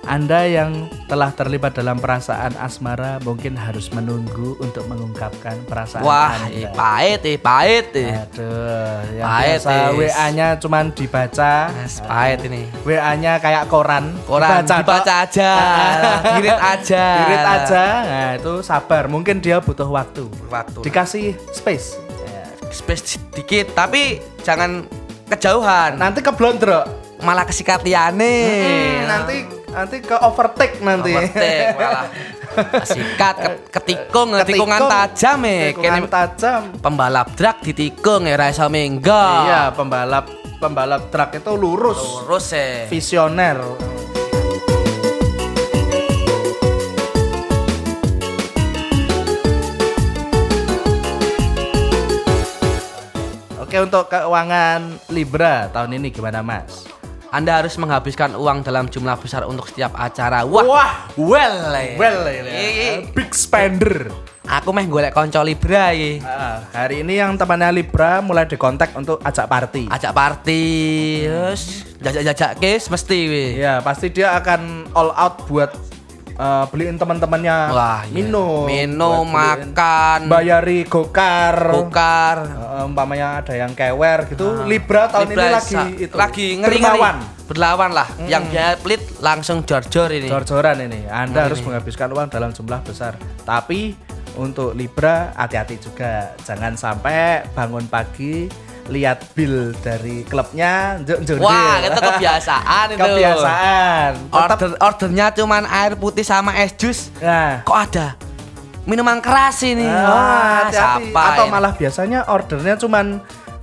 Speaker 1: Anda yang telah terlibat dalam perasaan asmara mungkin harus menunggu untuk mengungkapkan perasaan
Speaker 2: wah
Speaker 1: Anda.
Speaker 2: eh, pahit eh pahit eh
Speaker 1: Aduh, yang
Speaker 2: Pahit,
Speaker 1: biasa
Speaker 2: Is.
Speaker 1: WA-nya cuman dibaca.
Speaker 2: Mas, pahit ini
Speaker 1: WA-nya kayak koran,
Speaker 2: Koran, dibaca
Speaker 1: Pak.
Speaker 2: aja. Girit aja.
Speaker 1: Girit aja. Nah, itu sabar. Mungkin dia butuh waktu.
Speaker 2: Waktu. Hmm.
Speaker 1: Dikasih space.
Speaker 2: space sedikit tapi jangan kejauhan
Speaker 1: Nanti keblondrok. Hmm,
Speaker 2: malah kesikat liane
Speaker 1: Nanti nanti ke overtake nanti.
Speaker 2: Overtake, malah kesikat ke- ketikung ketikungan
Speaker 1: Ketikung.
Speaker 2: tajam eh
Speaker 1: Tikungan
Speaker 2: Kene
Speaker 1: tajam.
Speaker 2: pembalap drag ditikung ya rasa
Speaker 1: Iya,
Speaker 2: minggu
Speaker 1: pembalap pembalap truk itu lurus,
Speaker 2: terus eh
Speaker 1: visioner. Oke, untuk keuangan Libra tahun ini gimana, Mas?
Speaker 2: Anda harus menghabiskan uang dalam jumlah besar untuk setiap acara. Wah,
Speaker 1: Wah.
Speaker 2: well, eh.
Speaker 1: Well, ya.
Speaker 2: Iya.
Speaker 1: big spender.
Speaker 2: aku meh golek konco libra iki.
Speaker 1: Ah, hari ini yang temannya Libra mulai dikontak untuk ajak party.
Speaker 2: Ajak party, terus jajak-jajak kes mesti we.
Speaker 1: Iya, pasti dia akan all out buat eh, beliin teman-temannya
Speaker 2: Wah, iya.
Speaker 1: minum,
Speaker 2: Minum,
Speaker 1: buat beliin-
Speaker 2: makan,
Speaker 1: bayari gokar,
Speaker 2: bokar.
Speaker 1: Eh, umpamanya ada yang kewer gitu. Libra tahun ini
Speaker 2: Ah. Libra
Speaker 1: lagi
Speaker 2: sa-
Speaker 1: itu,
Speaker 2: lagi ngeri
Speaker 1: dermawan.
Speaker 2: Berlawan lah, yang biaya pelit langsung jor-jor ini.
Speaker 1: Jor-joran ini.
Speaker 2: Nah,
Speaker 1: Anda harus menghabiskan uang dalam jumlah besar. Tapi untuk Libra hati-hati juga. Jangan sampai bangun pagi lihat bill dari klubnya njur-njur
Speaker 2: Wah,
Speaker 1: deal.
Speaker 2: itu kebiasaan itu.
Speaker 1: Kebiasaan. Tetap-
Speaker 2: Order ordernya cuman air putih sama es jus.
Speaker 1: Nah,
Speaker 2: Kok ada minuman keras ini?
Speaker 1: Ah, hati-hati.
Speaker 2: siapa
Speaker 1: Atau
Speaker 2: ini?
Speaker 1: malah biasanya ordernya cuman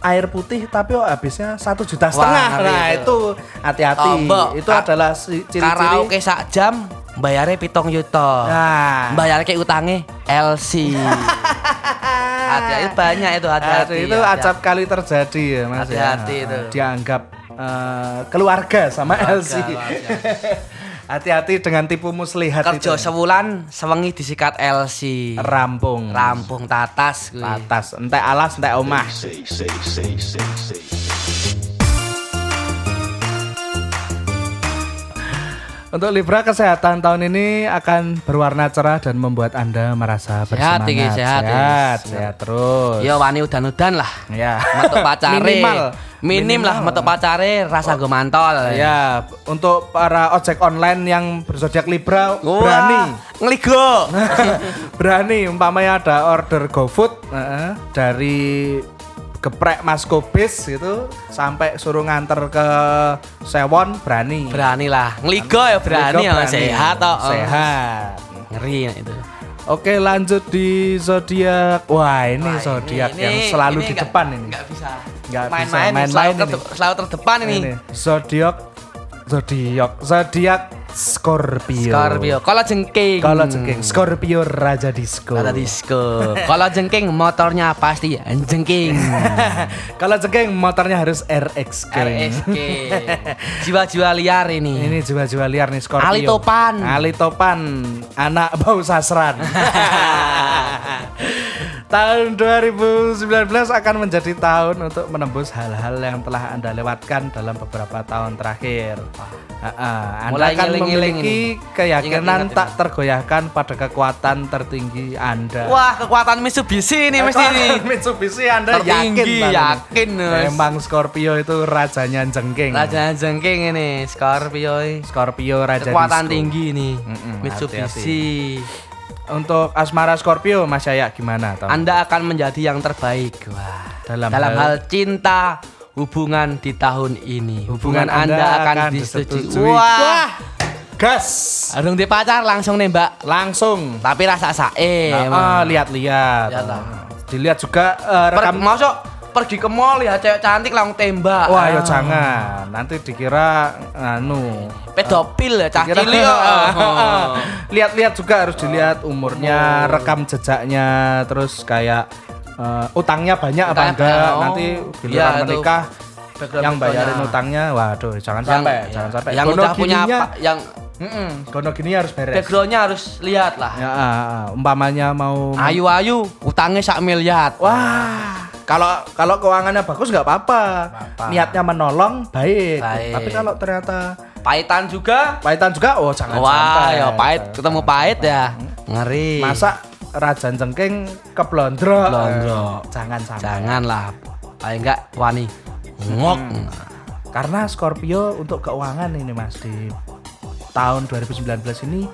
Speaker 1: air putih tapi oh, habisnya satu juta
Speaker 2: Wah,
Speaker 1: setengah.
Speaker 2: ngeri
Speaker 1: nah
Speaker 2: itu.
Speaker 1: itu hati-hati.
Speaker 2: Tombok.
Speaker 1: Itu
Speaker 2: Ka-
Speaker 1: adalah si-
Speaker 2: karaoke
Speaker 1: ciri-ciri.
Speaker 2: sak jam bayarnya pitong yuto
Speaker 1: Nah,
Speaker 2: bayarnya kayak utangnya LC hati-hati banyak itu hati-hati
Speaker 1: hati- itu
Speaker 2: hati-hati.
Speaker 1: acap kali terjadi ya mas. ya.
Speaker 2: Hati-hati itu.
Speaker 1: Dianggap eh, keluarga sama LC.
Speaker 2: keluarga. ya.
Speaker 1: Hati-hati dengan tipu muslihat itu.
Speaker 2: kerja sewulan sewengi disikat LC
Speaker 1: Rampung.
Speaker 2: rampung tatas kuwi.
Speaker 1: Atas, entek alas, entek omah.
Speaker 4: Say, say, say, say, say.
Speaker 1: Untuk Libra kesehatan tahun ini akan berwarna cerah dan membuat Anda merasa bersemangat.
Speaker 2: Sehat, Iki, sehat, Iki.
Speaker 1: sehat, sehat terus.
Speaker 2: ya wani udan-udan lah
Speaker 1: Ya.
Speaker 2: metu pacare
Speaker 1: Minimal. Oh.
Speaker 2: minim lah metu pacare rasa gue mantol
Speaker 1: Ya, untuk para ojek online yang berzodiak Libra
Speaker 2: Wah,
Speaker 1: berani.
Speaker 2: ngeligo
Speaker 1: berani umpamanya ada order GoFood heeh, dari geprek Mas Kobis gitu sampai suruh nganter ke Sewon berani.
Speaker 2: berani lah ngeligo ya berani
Speaker 1: Liga
Speaker 2: ya sehat toh
Speaker 1: Sehat.
Speaker 2: ngeri itu
Speaker 1: Oke lanjut di zodiak. Wah ini zodiak yang selalu di depan ini.
Speaker 2: Enggak bisa.
Speaker 1: Nggak bisa,
Speaker 2: main-main ini, selalu,
Speaker 1: main-main
Speaker 2: terde- selalu terdepan ini.
Speaker 1: Ini, Zodiak, zodiak, zodiak Scorpio.
Speaker 2: Scorpio. Kalau jengking.
Speaker 1: Kalau jengking, Scorpio Raja Disco.
Speaker 2: Ada disco. Kalau jengking motornya pasti jengking.
Speaker 1: Kalau jengking motornya harus RX. King.
Speaker 2: RSK. Jiwa-jiwa liar ini.
Speaker 1: Ini jiwa-jiwa liar nih Scorpio.
Speaker 2: Ali Topan.
Speaker 1: Ali Topan, anak bau sasran. tahun 2019 akan menjadi tahun untuk menembus hal-hal yang telah Anda lewatkan dalam beberapa tahun terakhir. Heeh, Anda
Speaker 2: Mulai
Speaker 1: akan
Speaker 2: ngiling-ngiling
Speaker 1: memiliki
Speaker 2: ini.
Speaker 1: keyakinan
Speaker 2: Ingat, ingat,
Speaker 1: tak tergoyahkan pada kekuatan tertinggi Anda.
Speaker 2: Wah, kekuatan Mitsubishi ini mesti ini.
Speaker 1: Mitsubishi Anda
Speaker 2: Tertinggi,
Speaker 1: yakin Bang?
Speaker 2: yakin, Nus.
Speaker 1: Memang Scorpio itu rajanya jengking.
Speaker 2: Raja jengking ini, Scorpio. ini.
Speaker 1: Scorpio raja
Speaker 2: Kekuatan
Speaker 1: disco.
Speaker 2: tinggi ini.
Speaker 1: Mm-mm,
Speaker 2: Mitsubishi.
Speaker 1: Untuk asmara Scorpio Mas Yaya gimana Tom?
Speaker 2: Anda akan menjadi yang terbaik. Wah.
Speaker 1: Dalam
Speaker 2: Dalam,
Speaker 1: hal-
Speaker 2: hal, cinta, hubungan di tahun ini.
Speaker 1: Hubungan
Speaker 2: Hubungan,
Speaker 1: Anda
Speaker 2: Anda, akan,
Speaker 1: akan
Speaker 2: disetujui.
Speaker 1: disetujui.
Speaker 2: Wah.
Speaker 1: gas
Speaker 2: Arung di pacar langsung nembak.
Speaker 1: langsung.
Speaker 2: Tapi rasa sae.
Speaker 1: Ah, lihat-lihat.
Speaker 2: Iya, Lihat lah.
Speaker 1: Dilihat juga eh,
Speaker 2: Per,
Speaker 1: rekam
Speaker 2: masuk pergi ke mall ya cewek cantik langsung tembak.
Speaker 1: Wah, ya
Speaker 2: Ah.
Speaker 1: jangan. Nanti dikira anu.
Speaker 2: pedofil ya cah
Speaker 1: dikira-
Speaker 2: cilik. ya. Oh.
Speaker 1: Lihat-lihat juga harus dilihat umurnya, rekam jejaknya, terus kayak eh, utangnya banyak apa
Speaker 2: Utangnya
Speaker 1: enggak.
Speaker 2: banyak, oh.
Speaker 1: Nanti
Speaker 2: Iya,
Speaker 1: giliran
Speaker 2: itu
Speaker 1: menikah
Speaker 2: background
Speaker 1: yang bayarin
Speaker 2: fotonya.
Speaker 1: utangnya. Waduh, jangan sampai, jangan sampai.
Speaker 2: yang
Speaker 1: Gono
Speaker 2: udah punya
Speaker 1: gininya-
Speaker 2: apa, yang
Speaker 1: Mm-mm, Gono gini harus beres.
Speaker 2: backgroundnya harus lihat lah.
Speaker 1: Ya, ah, ah, umpamanya mau
Speaker 2: Ayu-ayu utangnya sak miliar.
Speaker 1: Wah, kalau kalau keuangannya bagus nggak apa-apa. Niatnya menolong baik.
Speaker 2: Baik.
Speaker 1: Tapi kalau ternyata
Speaker 2: Pahitan juga.
Speaker 1: pahitan juga, oh jangan
Speaker 2: Wah,
Speaker 1: sampai.
Speaker 2: ya pahit ketemu pahit ya. Ngeri.
Speaker 1: Hmm? Masa rajan cengking ke blondro.
Speaker 2: Blondro.
Speaker 1: Eh, Jangan sampai.
Speaker 2: janganlah. Paling enggak wani. Hmm. Ngok.
Speaker 1: Karena Scorpio untuk keuangan ini Mas di tahun 2019 ini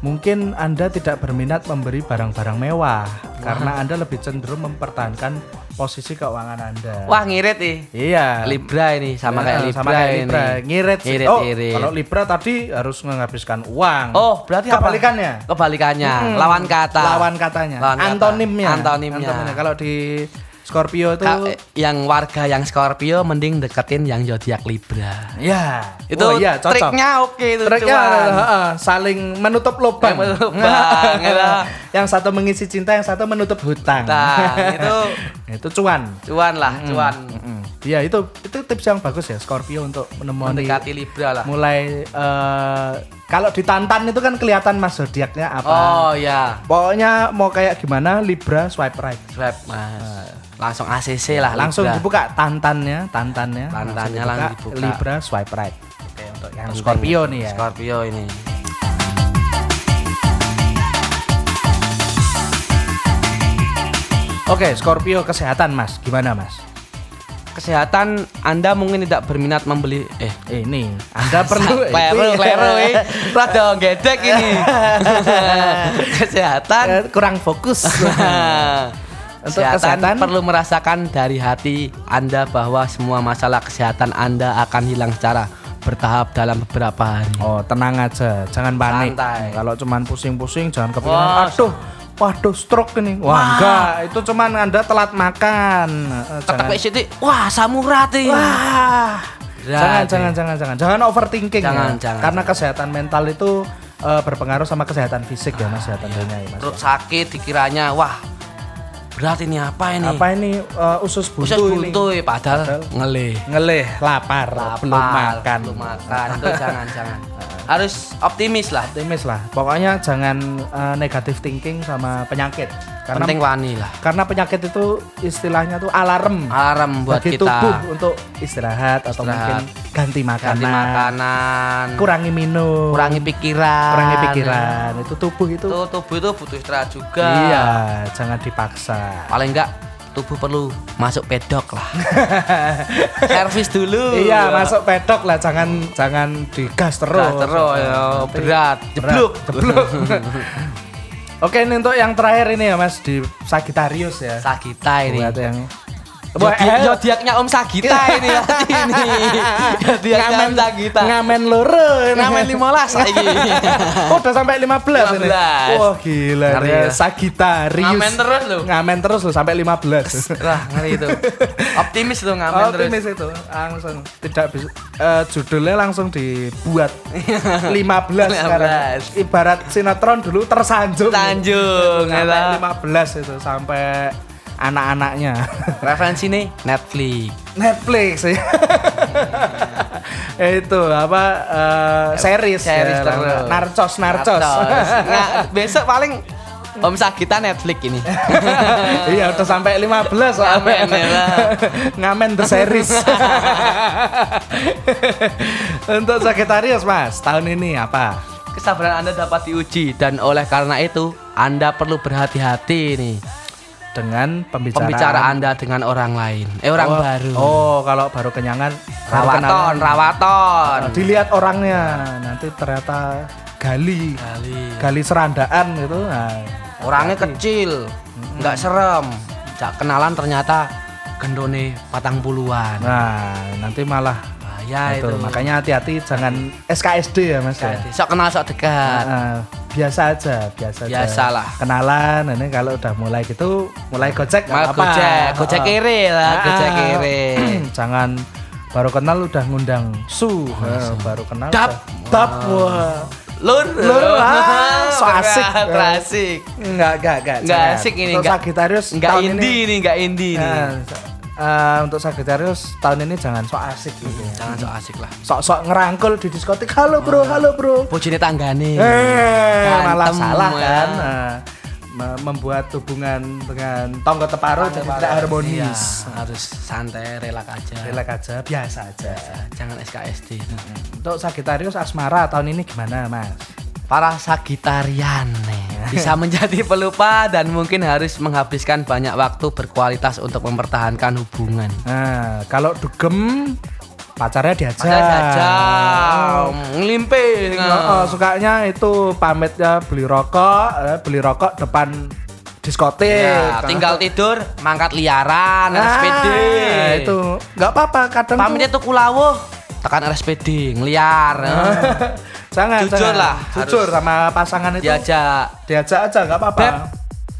Speaker 1: mungkin Anda tidak berminat memberi barang-barang mewah karena Anda lebih cenderung mempertahankan posisi keuangan Anda.
Speaker 2: Wah, ngirit nih.
Speaker 1: Iya.
Speaker 2: Libra ini sama kayak
Speaker 1: Nah,
Speaker 2: Libra,
Speaker 1: sama kayak Libra.
Speaker 2: ini.
Speaker 1: Ngirit sih.
Speaker 2: ngirit,
Speaker 1: oh,
Speaker 2: ngirit.
Speaker 1: kalau Libra tadi harus menghabiskan uang.
Speaker 2: Oh, berarti apa?
Speaker 1: kebalikannya.
Speaker 2: Kebalikannya,
Speaker 1: Hmm.
Speaker 2: lawan kata.
Speaker 1: Lawan katanya.
Speaker 2: Lawan kata.
Speaker 1: Antonimnya.
Speaker 2: Antonimnya.
Speaker 1: Kalau di Scorpio itu
Speaker 2: Ka- eh, yang warga yang Scorpio mending deketin yang zodiak Libra.
Speaker 1: ya.
Speaker 2: Itu
Speaker 1: Oh, iya, cocok.
Speaker 2: triknya oke itu
Speaker 1: Triknya
Speaker 2: cuan.
Speaker 1: heeh, saling menutup lubang.
Speaker 2: Yang menutup lubang, ya.
Speaker 1: yang satu mengisi cinta, yang satu menutup hutang.
Speaker 2: Hutang, itu.
Speaker 1: itu cuan.
Speaker 2: Cuan lah, cuan.
Speaker 1: Mm. Iya, itu itu tips yang bagus ya Scorpio untuk menemui
Speaker 2: Mendekati Libra lah.
Speaker 1: mulai eh, kalau ditantan itu kan kelihatan mas zodiaknya apa.
Speaker 2: Oh
Speaker 1: iya.
Speaker 2: ya,
Speaker 1: Pokoknya mau kayak gimana Libra swipe right.
Speaker 2: Grab Mas. Langsung ACC lah
Speaker 1: Hmm. Langsung
Speaker 2: Libra.
Speaker 1: dibuka tantannya, tantannya.
Speaker 2: Tantannya
Speaker 1: langsung
Speaker 2: langsung dibuka.
Speaker 1: Libra swipe right. Oke, untuk yang Scorpio nih ya.
Speaker 2: Scorpio ini.
Speaker 1: Oke, Scorpio kesehatan Mas. Gimana Mas?
Speaker 2: Kesehatan Anda mungkin tidak berminat membeli eh
Speaker 1: Eh, Ini, Anda perlu
Speaker 2: kleru
Speaker 1: Iya.
Speaker 2: kleru eh. Rada gedek ini. Kesehatan
Speaker 1: Eh, kurang fokus. Iya. Untuk
Speaker 2: Untuk kesehatan,
Speaker 1: kesehatan-
Speaker 2: perlu merasakan dari hati Anda bahwa semua masalah kesehatan Anda akan hilang secara bertahap dalam beberapa hari.
Speaker 1: Oh, tenang aja, jangan panik.
Speaker 2: Santai.
Speaker 1: Kalau cuman pusing-pusing jangan kepikiran,
Speaker 2: Wah,
Speaker 1: aduh, waduh stroke ini. Wah, enggak, itu cuman Anda telat makan. Eh,
Speaker 2: Ketek
Speaker 1: Jangan
Speaker 2: wis sithik, wah samurat iki.
Speaker 1: Wah. Jangan,
Speaker 2: Berat,
Speaker 1: jangan,
Speaker 2: ya.
Speaker 1: jangan, jangan, jangan overthinking.
Speaker 2: Jangan,
Speaker 1: ya.
Speaker 2: jangan,
Speaker 1: Karena kesehatan mental itu eh, berpengaruh sama kesehatan fisik ya mas, kesehatan dunia ya mas.
Speaker 2: Perut sakit dikiranya, wah berat ini apa ini?
Speaker 1: Apa ini eh, usus buntu,
Speaker 2: Usus buntu
Speaker 1: ini?
Speaker 2: ya, padahal,
Speaker 1: Padahal
Speaker 2: ngelih.
Speaker 1: Ngelih, lapar, belum makan.
Speaker 2: belum makan. Itu jangan, jangan. Harus optimis lah.
Speaker 1: Optimis lah. Pokoknya jangan eh, negatif thinking sama penyakit. Karena
Speaker 2: Penting wani lah.
Speaker 1: karena penyakit itu istilahnya tuh alarm.
Speaker 2: Alarm buat
Speaker 1: Hmm. bagi
Speaker 2: kita.
Speaker 1: tubuh untuk istirahat atau
Speaker 2: Istirahat.
Speaker 1: mungkin ganti makanan,
Speaker 2: Ganti makanan.
Speaker 1: kurangi minum,
Speaker 2: Kurangi pikiran.
Speaker 1: kurangi pikiran. Itu tubuh itu
Speaker 2: Tuh, tubuh itu butuh istirahat juga.
Speaker 1: Iya, jangan dipaksa.
Speaker 2: Paling enggak tubuh perlu masuk pedok lah. Servis dulu.
Speaker 1: Iya, masuk pedok lah, jangan jangan digas terus.
Speaker 2: Gas terus, ya.
Speaker 1: Nanti
Speaker 2: berat, jeblok.
Speaker 1: jeblok. Oke, ini untuk yang terakhir ini ya Mas di Sagitarius ya.
Speaker 2: Sagita ini.
Speaker 1: Buat yang
Speaker 2: Zodiak- Zodiaknya Om Sagita ini berarti ini. Zodiaknya Om Sagita.
Speaker 1: Ngamen loro.
Speaker 2: Ngamen 15 saiki.
Speaker 1: Oh, udah sampai 15, ini.
Speaker 2: 15.
Speaker 1: Wah, gila.
Speaker 2: Ngeri
Speaker 1: ya.
Speaker 2: ya.
Speaker 1: Sagitarius.
Speaker 2: Ngamen terus lu.
Speaker 1: Ngamen terus loh sampai 15.
Speaker 2: Lah, ngeri itu. Optimis tuh ngamen terus.
Speaker 1: Oh, Optimis itu langsung tidak bisa eh, judulnya langsung dibuat 15 sekarang
Speaker 2: 15.
Speaker 1: ibarat sinetron dulu tersanjung
Speaker 2: Tanjung,
Speaker 1: sampai
Speaker 2: ya.
Speaker 1: 15 itu sampai anak-anaknya
Speaker 2: Referensi nih Netflix.
Speaker 1: Netflix ya itu apa eh, series,
Speaker 2: Series
Speaker 1: ya,
Speaker 2: terus.
Speaker 1: narcos narcos
Speaker 2: Nah, besok paling Om Sagita Netflix ini.
Speaker 1: iya udah sampai 15 soalnya
Speaker 2: Ngamen, ya, lah.
Speaker 1: ngamen the series untuk Sagittarius mas tahun ini apa
Speaker 2: Kesabaran Anda dapat diuji dan oleh karena itu Anda perlu berhati-hati nih
Speaker 1: dengan pembicaraan,
Speaker 2: pembicara Anda dengan orang lain. Eh orang
Speaker 1: Oh,
Speaker 2: baru.
Speaker 1: Oh, kalau baru kenyangan baru
Speaker 2: rawaton,
Speaker 1: kenalan.
Speaker 2: rawaton.
Speaker 1: Dilihat orangnya, nanti ternyata gali,
Speaker 2: Kali.
Speaker 1: gali serandaan gitu. Nah,
Speaker 2: Orangnya kecil, nggak serem. Cak kenalan ternyata gendone patang puluhan.
Speaker 1: nah, nanti malah
Speaker 2: Bahaya
Speaker 1: itu.
Speaker 2: Nah, itu.
Speaker 1: Makanya hati-hati jangan SKSD ya Mas ya.
Speaker 2: Sok kenal sok dekat.
Speaker 1: Nah, biasa aja, biasa aja.
Speaker 2: Biasalah.
Speaker 1: Kenalan, ini kalau udah mulai gitu, mulai gocek nggak
Speaker 2: Malah
Speaker 1: apa-apa.
Speaker 2: gojek, gojek
Speaker 1: Ah.
Speaker 2: kiri lah,
Speaker 1: Ah.
Speaker 2: gojek kiri.
Speaker 1: Jangan baru kenal udah ngundang su, Nah, baru kenal
Speaker 2: Oh, Dap.
Speaker 1: udah- dap, wah.
Speaker 2: Lur,
Speaker 1: Lur, ah, so asik.
Speaker 2: Terasik.
Speaker 1: Enggak, enggak, enggak.
Speaker 2: Nggak
Speaker 1: jangan.
Speaker 2: asik ini,
Speaker 1: Untuk
Speaker 2: nggak-
Speaker 1: Sagittarius
Speaker 2: Enggak
Speaker 1: tahun
Speaker 2: indie ini, enggak indie ini.
Speaker 1: Nah, eh, untuk Sagittarius tahun ini jangan sok asik gitu ya.
Speaker 2: Jangan sok asik lah.
Speaker 1: Sok-sok ngerangkul di diskotik. Halo bro, halo bro.
Speaker 2: Bojone
Speaker 1: Eh,
Speaker 2: tanggane. Gantem,
Speaker 1: malah salah
Speaker 2: ya.
Speaker 1: kan. Nah, me- membuat hubungan dengan tonggo teparu jadi tidak harmonis.
Speaker 2: Iya, harus santai, relak aja.
Speaker 1: Relax aja, biasa aja.
Speaker 2: Jangan SKSD.
Speaker 1: Untuk Sagittarius asmara tahun ini gimana, Mas?
Speaker 2: Para Sagitarian nih, bisa menjadi pelupa dan mungkin harus menghabiskan banyak waktu berkualitas untuk mempertahankan hubungan.
Speaker 1: Nah, kalau dugem pacarnya diajak.
Speaker 2: Ada saja ngelimping.
Speaker 1: Oh, oh, sukanya itu pamitnya beli rokok, eh, beli rokok depan diskotik.
Speaker 2: Ya, tinggal tidur, mangkat liaran, RSPD.
Speaker 1: Nah, Ah, itu nggak apa-apa kadang tuh-
Speaker 2: Pamitnya tuh ya, kulawuh, tekan RSPD, ngeliar.
Speaker 1: Ah,
Speaker 2: Eh,
Speaker 1: jangan
Speaker 2: Jujur
Speaker 1: jangan.
Speaker 2: lah,
Speaker 1: jujur
Speaker 2: harus.
Speaker 1: sama pasangan itu
Speaker 2: Diajak,
Speaker 1: diajak aja nggak apa-apa
Speaker 2: Beb,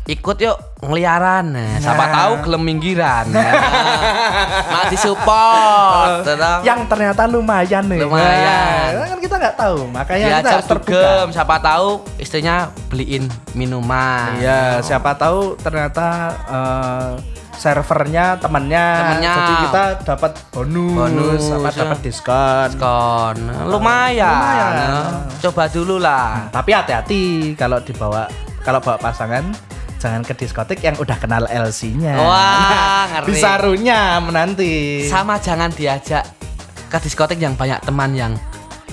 Speaker 2: ikut yuk ngeliaran. Nah, Siapa
Speaker 1: Nah.
Speaker 2: tahu gelem minggiran. Eh, Nah, Mak disupport. tetap.
Speaker 1: yang ternyata lumayan nih
Speaker 2: um, Lumayan.
Speaker 1: Nah, kan kita nggak tahu makanya ya, kita
Speaker 2: diajak
Speaker 1: harus terbuka
Speaker 2: dugem, siapa tahu istrinya beliin minuman.
Speaker 1: iya siapa tahu ternyata eh, servernya temannya
Speaker 2: Temennya.
Speaker 1: jadi kita dapat bonus,
Speaker 2: Bonus,
Speaker 1: sama
Speaker 2: ya.
Speaker 1: dapat diskon
Speaker 2: Diskon. Lumayan. Eh,
Speaker 1: Lumayan.
Speaker 2: Coba dulu lah.
Speaker 1: tapi hati-hati kalau dibawa kalau bawa pasangan jangan ke diskotik yang udah kenal LC-nya
Speaker 2: Wah, ngeri.
Speaker 1: bisa runyam nanti
Speaker 2: Sama jangan diajak ke diskotik yang banyak teman yang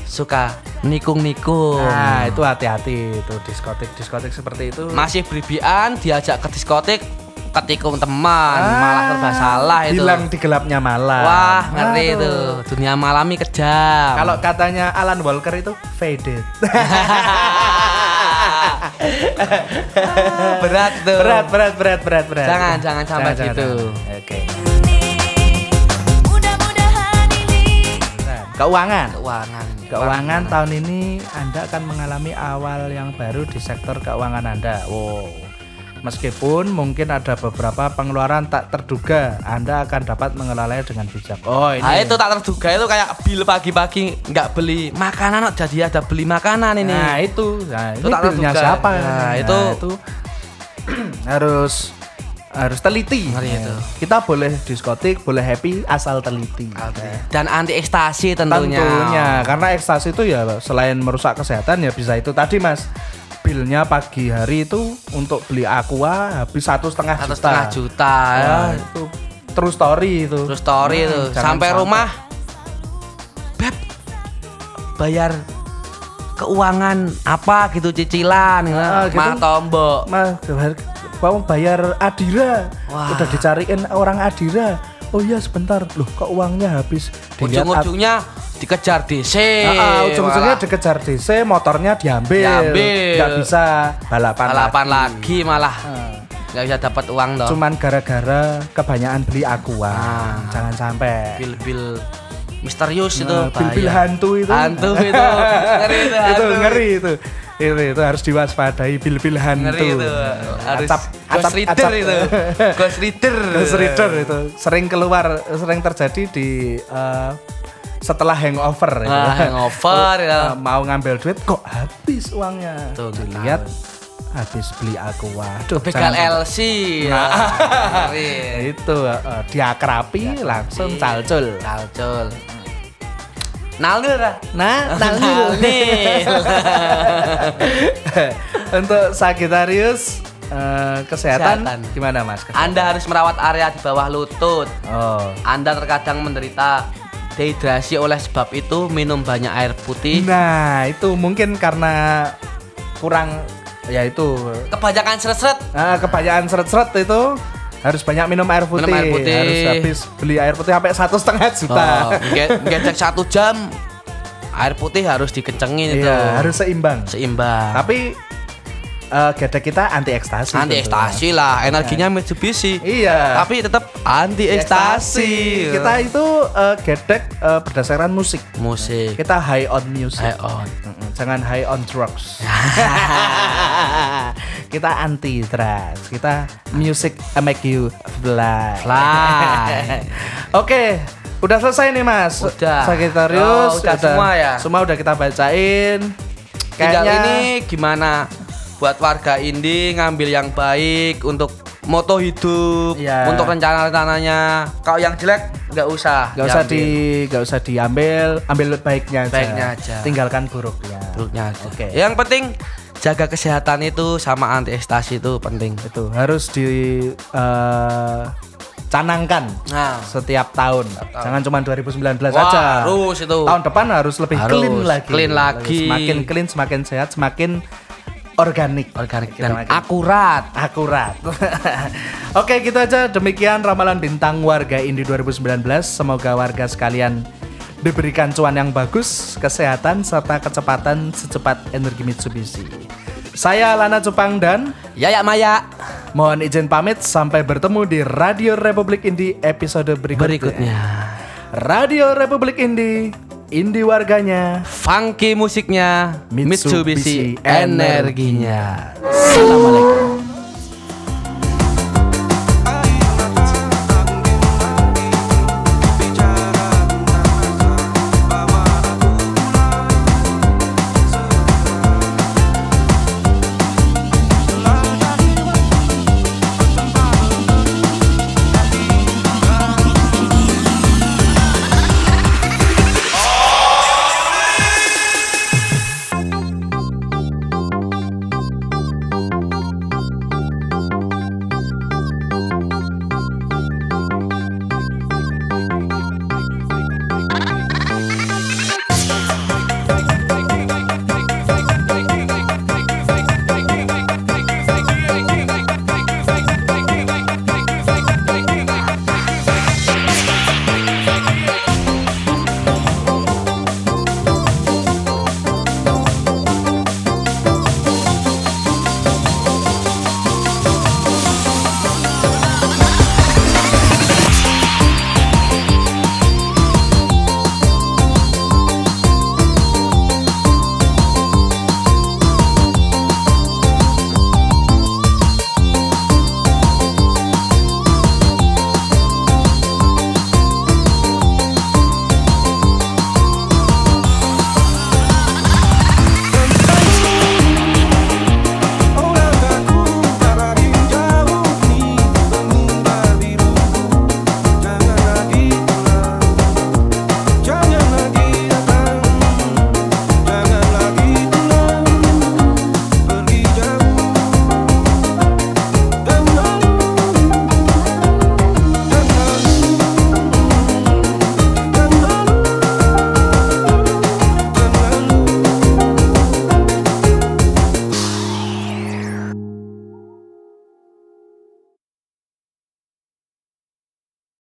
Speaker 2: suka nikung-nikung.
Speaker 1: Nah, itu hati-hati itu diskotik-diskotik seperti itu.
Speaker 2: Masih beribian diajak ke diskotik ketikung teman,
Speaker 1: Ah,
Speaker 2: malah serba salah itu.
Speaker 1: Hilang di gelapnya malam.
Speaker 2: Wah, ngeri
Speaker 1: Aduh.
Speaker 2: itu. Dunia malami kejam.
Speaker 1: Kalau katanya Alan Walker itu faded.
Speaker 2: berat tuh.
Speaker 1: berat, berat, berat, berat, berat.
Speaker 2: Jangan, jangan sampai gitu.
Speaker 1: jangan. Oke.
Speaker 3: Mudah-mudahan ini
Speaker 1: Nah, Keuangan.
Speaker 2: Keuangan.
Speaker 1: Keuangan tahun ini Anda akan mengalami awal yang baru di sektor keuangan Anda. Wow. Meskipun mungkin ada beberapa pengeluaran tak terduga, Anda akan dapat mengelolanya dengan bijak. Oh, ini.
Speaker 2: Ah itu tak terduga itu kayak bill pagi-pagi nggak beli makanan kok jadi ada beli makanan ini.
Speaker 1: Nah itu, nah, ini
Speaker 2: Itu tak
Speaker 1: bilnya
Speaker 2: terduga.
Speaker 1: siapa?
Speaker 2: Nah, itu-
Speaker 1: harus harus teliti. Nah,
Speaker 2: Ngeri itu.
Speaker 1: Kita boleh diskotik, boleh happy asal teliti. Nah,
Speaker 2: Dan anti ekstasi tentunya.
Speaker 1: Tentunya. karena ekstasi itu ya selain merusak kesehatan ya bisa itu tadi mas. Bilnya pagi hari itu untuk beli aqua habis satu setengah
Speaker 2: Satu
Speaker 1: juta.
Speaker 2: setengah juta. ya.
Speaker 1: Wah, itu true story itu.
Speaker 2: Terus story
Speaker 1: Hmm,
Speaker 2: itu
Speaker 1: jangan
Speaker 2: sampai rumah beb bayar keuangan apa gitu cicilan
Speaker 1: Ah, gitu.
Speaker 2: gitu. mah tombok
Speaker 1: Mas, bayar- mau bayar Adira.
Speaker 2: Wah.
Speaker 1: Udah dicariin orang Adira. Oh iya sebentar. Loh, kok uangnya habis? Dilihat
Speaker 2: ujung-ujungnya dikejar DC
Speaker 1: ad- Ah, ah, ujung-ujungnya
Speaker 2: malah.
Speaker 1: dikejar DC, motornya diambil.
Speaker 2: Diambil.
Speaker 1: Nggak bisa balapan.
Speaker 2: balapan
Speaker 1: lagi.
Speaker 2: lagi malah
Speaker 1: Hmm. Ah.
Speaker 2: nggak bisa dapat uang toh.
Speaker 1: Cuman gara-gara kebanyakan beli aqua.
Speaker 2: Ah.
Speaker 1: Jangan sampai.
Speaker 2: Bil-bil misterius itu.
Speaker 1: Nah, Bil-bil
Speaker 2: bahaya.
Speaker 1: hantu itu.
Speaker 2: Hantu itu. Ngeri itu.
Speaker 1: itu
Speaker 2: hantu.
Speaker 1: ngeri itu. Itu, itu harus diwaspadai bil-bil hantu.
Speaker 2: Ngeri itu. Harus
Speaker 1: Acap-
Speaker 2: ghost
Speaker 1: acap-
Speaker 2: reader
Speaker 1: acap-
Speaker 2: itu. Ghost reader.
Speaker 1: Ghost reader itu sering keluar, sering terjadi di eh, setelah hangover. itu.
Speaker 2: Ah, hangover,
Speaker 1: Eh,
Speaker 2: ya.
Speaker 1: mau ngambil duit kok habis uangnya.
Speaker 2: Tuh, nggak
Speaker 1: Dilihat habis beli aqua. Aduh,
Speaker 2: Begal
Speaker 1: jangan-
Speaker 2: LC.
Speaker 1: Nah.
Speaker 2: ya. Ngeri.
Speaker 1: itu eh, diakrapi langsung calcul
Speaker 2: Hmm, Calcul. Naldur lah.
Speaker 1: nah untuk Sagittarius eh, kesehatan,
Speaker 2: Kesehatan. Ah.
Speaker 1: gimana mas
Speaker 2: Anda harus merawat area di bawah lutut.
Speaker 1: oh
Speaker 2: Anda terkadang menderita dehidrasi oleh sebab itu minum banyak air putih.
Speaker 1: nah itu mungkin karena kurang ya itu
Speaker 2: Kebanyakan seret-seret.
Speaker 1: Ah, kebanyakan seret-seret itu harus banyak minum air putih,
Speaker 2: air putih.
Speaker 1: harus habis beli air putih sampai satu setengah juta
Speaker 2: Oh, nge- ngecek satu jam air putih harus dikencengin itu.
Speaker 1: Iya, harus seimbang
Speaker 2: seimbang.
Speaker 1: tapi eh gede kita anti ekstasi
Speaker 2: Anti ekstasi lah, energinya Mitsubishi.
Speaker 1: Iya.
Speaker 2: Tapi tetap anti ekstasi.
Speaker 1: Kita itu eh, gedek eh, berdasarkan musik.
Speaker 2: musik.
Speaker 1: Kita high on music.
Speaker 2: High on.
Speaker 1: Mm-mm, Jangan high on drugs. kita anti drugs. Kita music make you fly.
Speaker 2: Fly.
Speaker 1: Oke, udah selesai nih Mas.
Speaker 2: Udah.
Speaker 1: Sagittarius
Speaker 2: Oh, udah semua ya?
Speaker 1: Semua udah kita bacain.
Speaker 2: Tinggal
Speaker 1: Kayaknya
Speaker 2: ini gimana buat warga indie ngambil yang baik untuk moto hidup,
Speaker 1: Iya.
Speaker 2: untuk rencana-rencananya. Kalau yang jelek nggak usah.
Speaker 1: Gak usah di,
Speaker 2: diambil.
Speaker 1: gak usah diambil, ambil baiknya aja.
Speaker 2: Baiknya aja.
Speaker 1: Tinggalkan buruknya.
Speaker 2: Buruknya aja.
Speaker 1: Oke.
Speaker 2: Yang penting jaga kesehatan itu sama anti ekstasi itu penting.
Speaker 1: itu harus di eh, canangkan
Speaker 2: Nah.
Speaker 1: setiap tahun. Jangan cuma 2019
Speaker 2: Wah,
Speaker 1: aja.
Speaker 2: harus itu.
Speaker 1: Tahun depan harus lebih
Speaker 2: Harus,
Speaker 1: clean lagi.
Speaker 2: clean lagi.
Speaker 1: Semakin clean, semakin sehat, semakin organik.
Speaker 2: Organik
Speaker 1: Kita
Speaker 2: dan
Speaker 1: makin
Speaker 2: akurat.
Speaker 1: akurat. Oke, gitu aja demikian ramalan bintang warga Indi 2019. Semoga warga sekalian diberikan cuan yang bagus, kesehatan serta kecepatan secepat energi Mitsubishi. Saya Lana Cupang dan
Speaker 2: Ya ya Maya.
Speaker 1: Mohon izin pamit sampai bertemu di Radio Republik Indi episode berikutnya.
Speaker 2: Berikutnya
Speaker 1: Radio Republik Indi, Indi warganya.
Speaker 2: funky musiknya, Mitsubishi,
Speaker 1: Mitsubishi
Speaker 2: energinya.
Speaker 1: Assalamualaikum.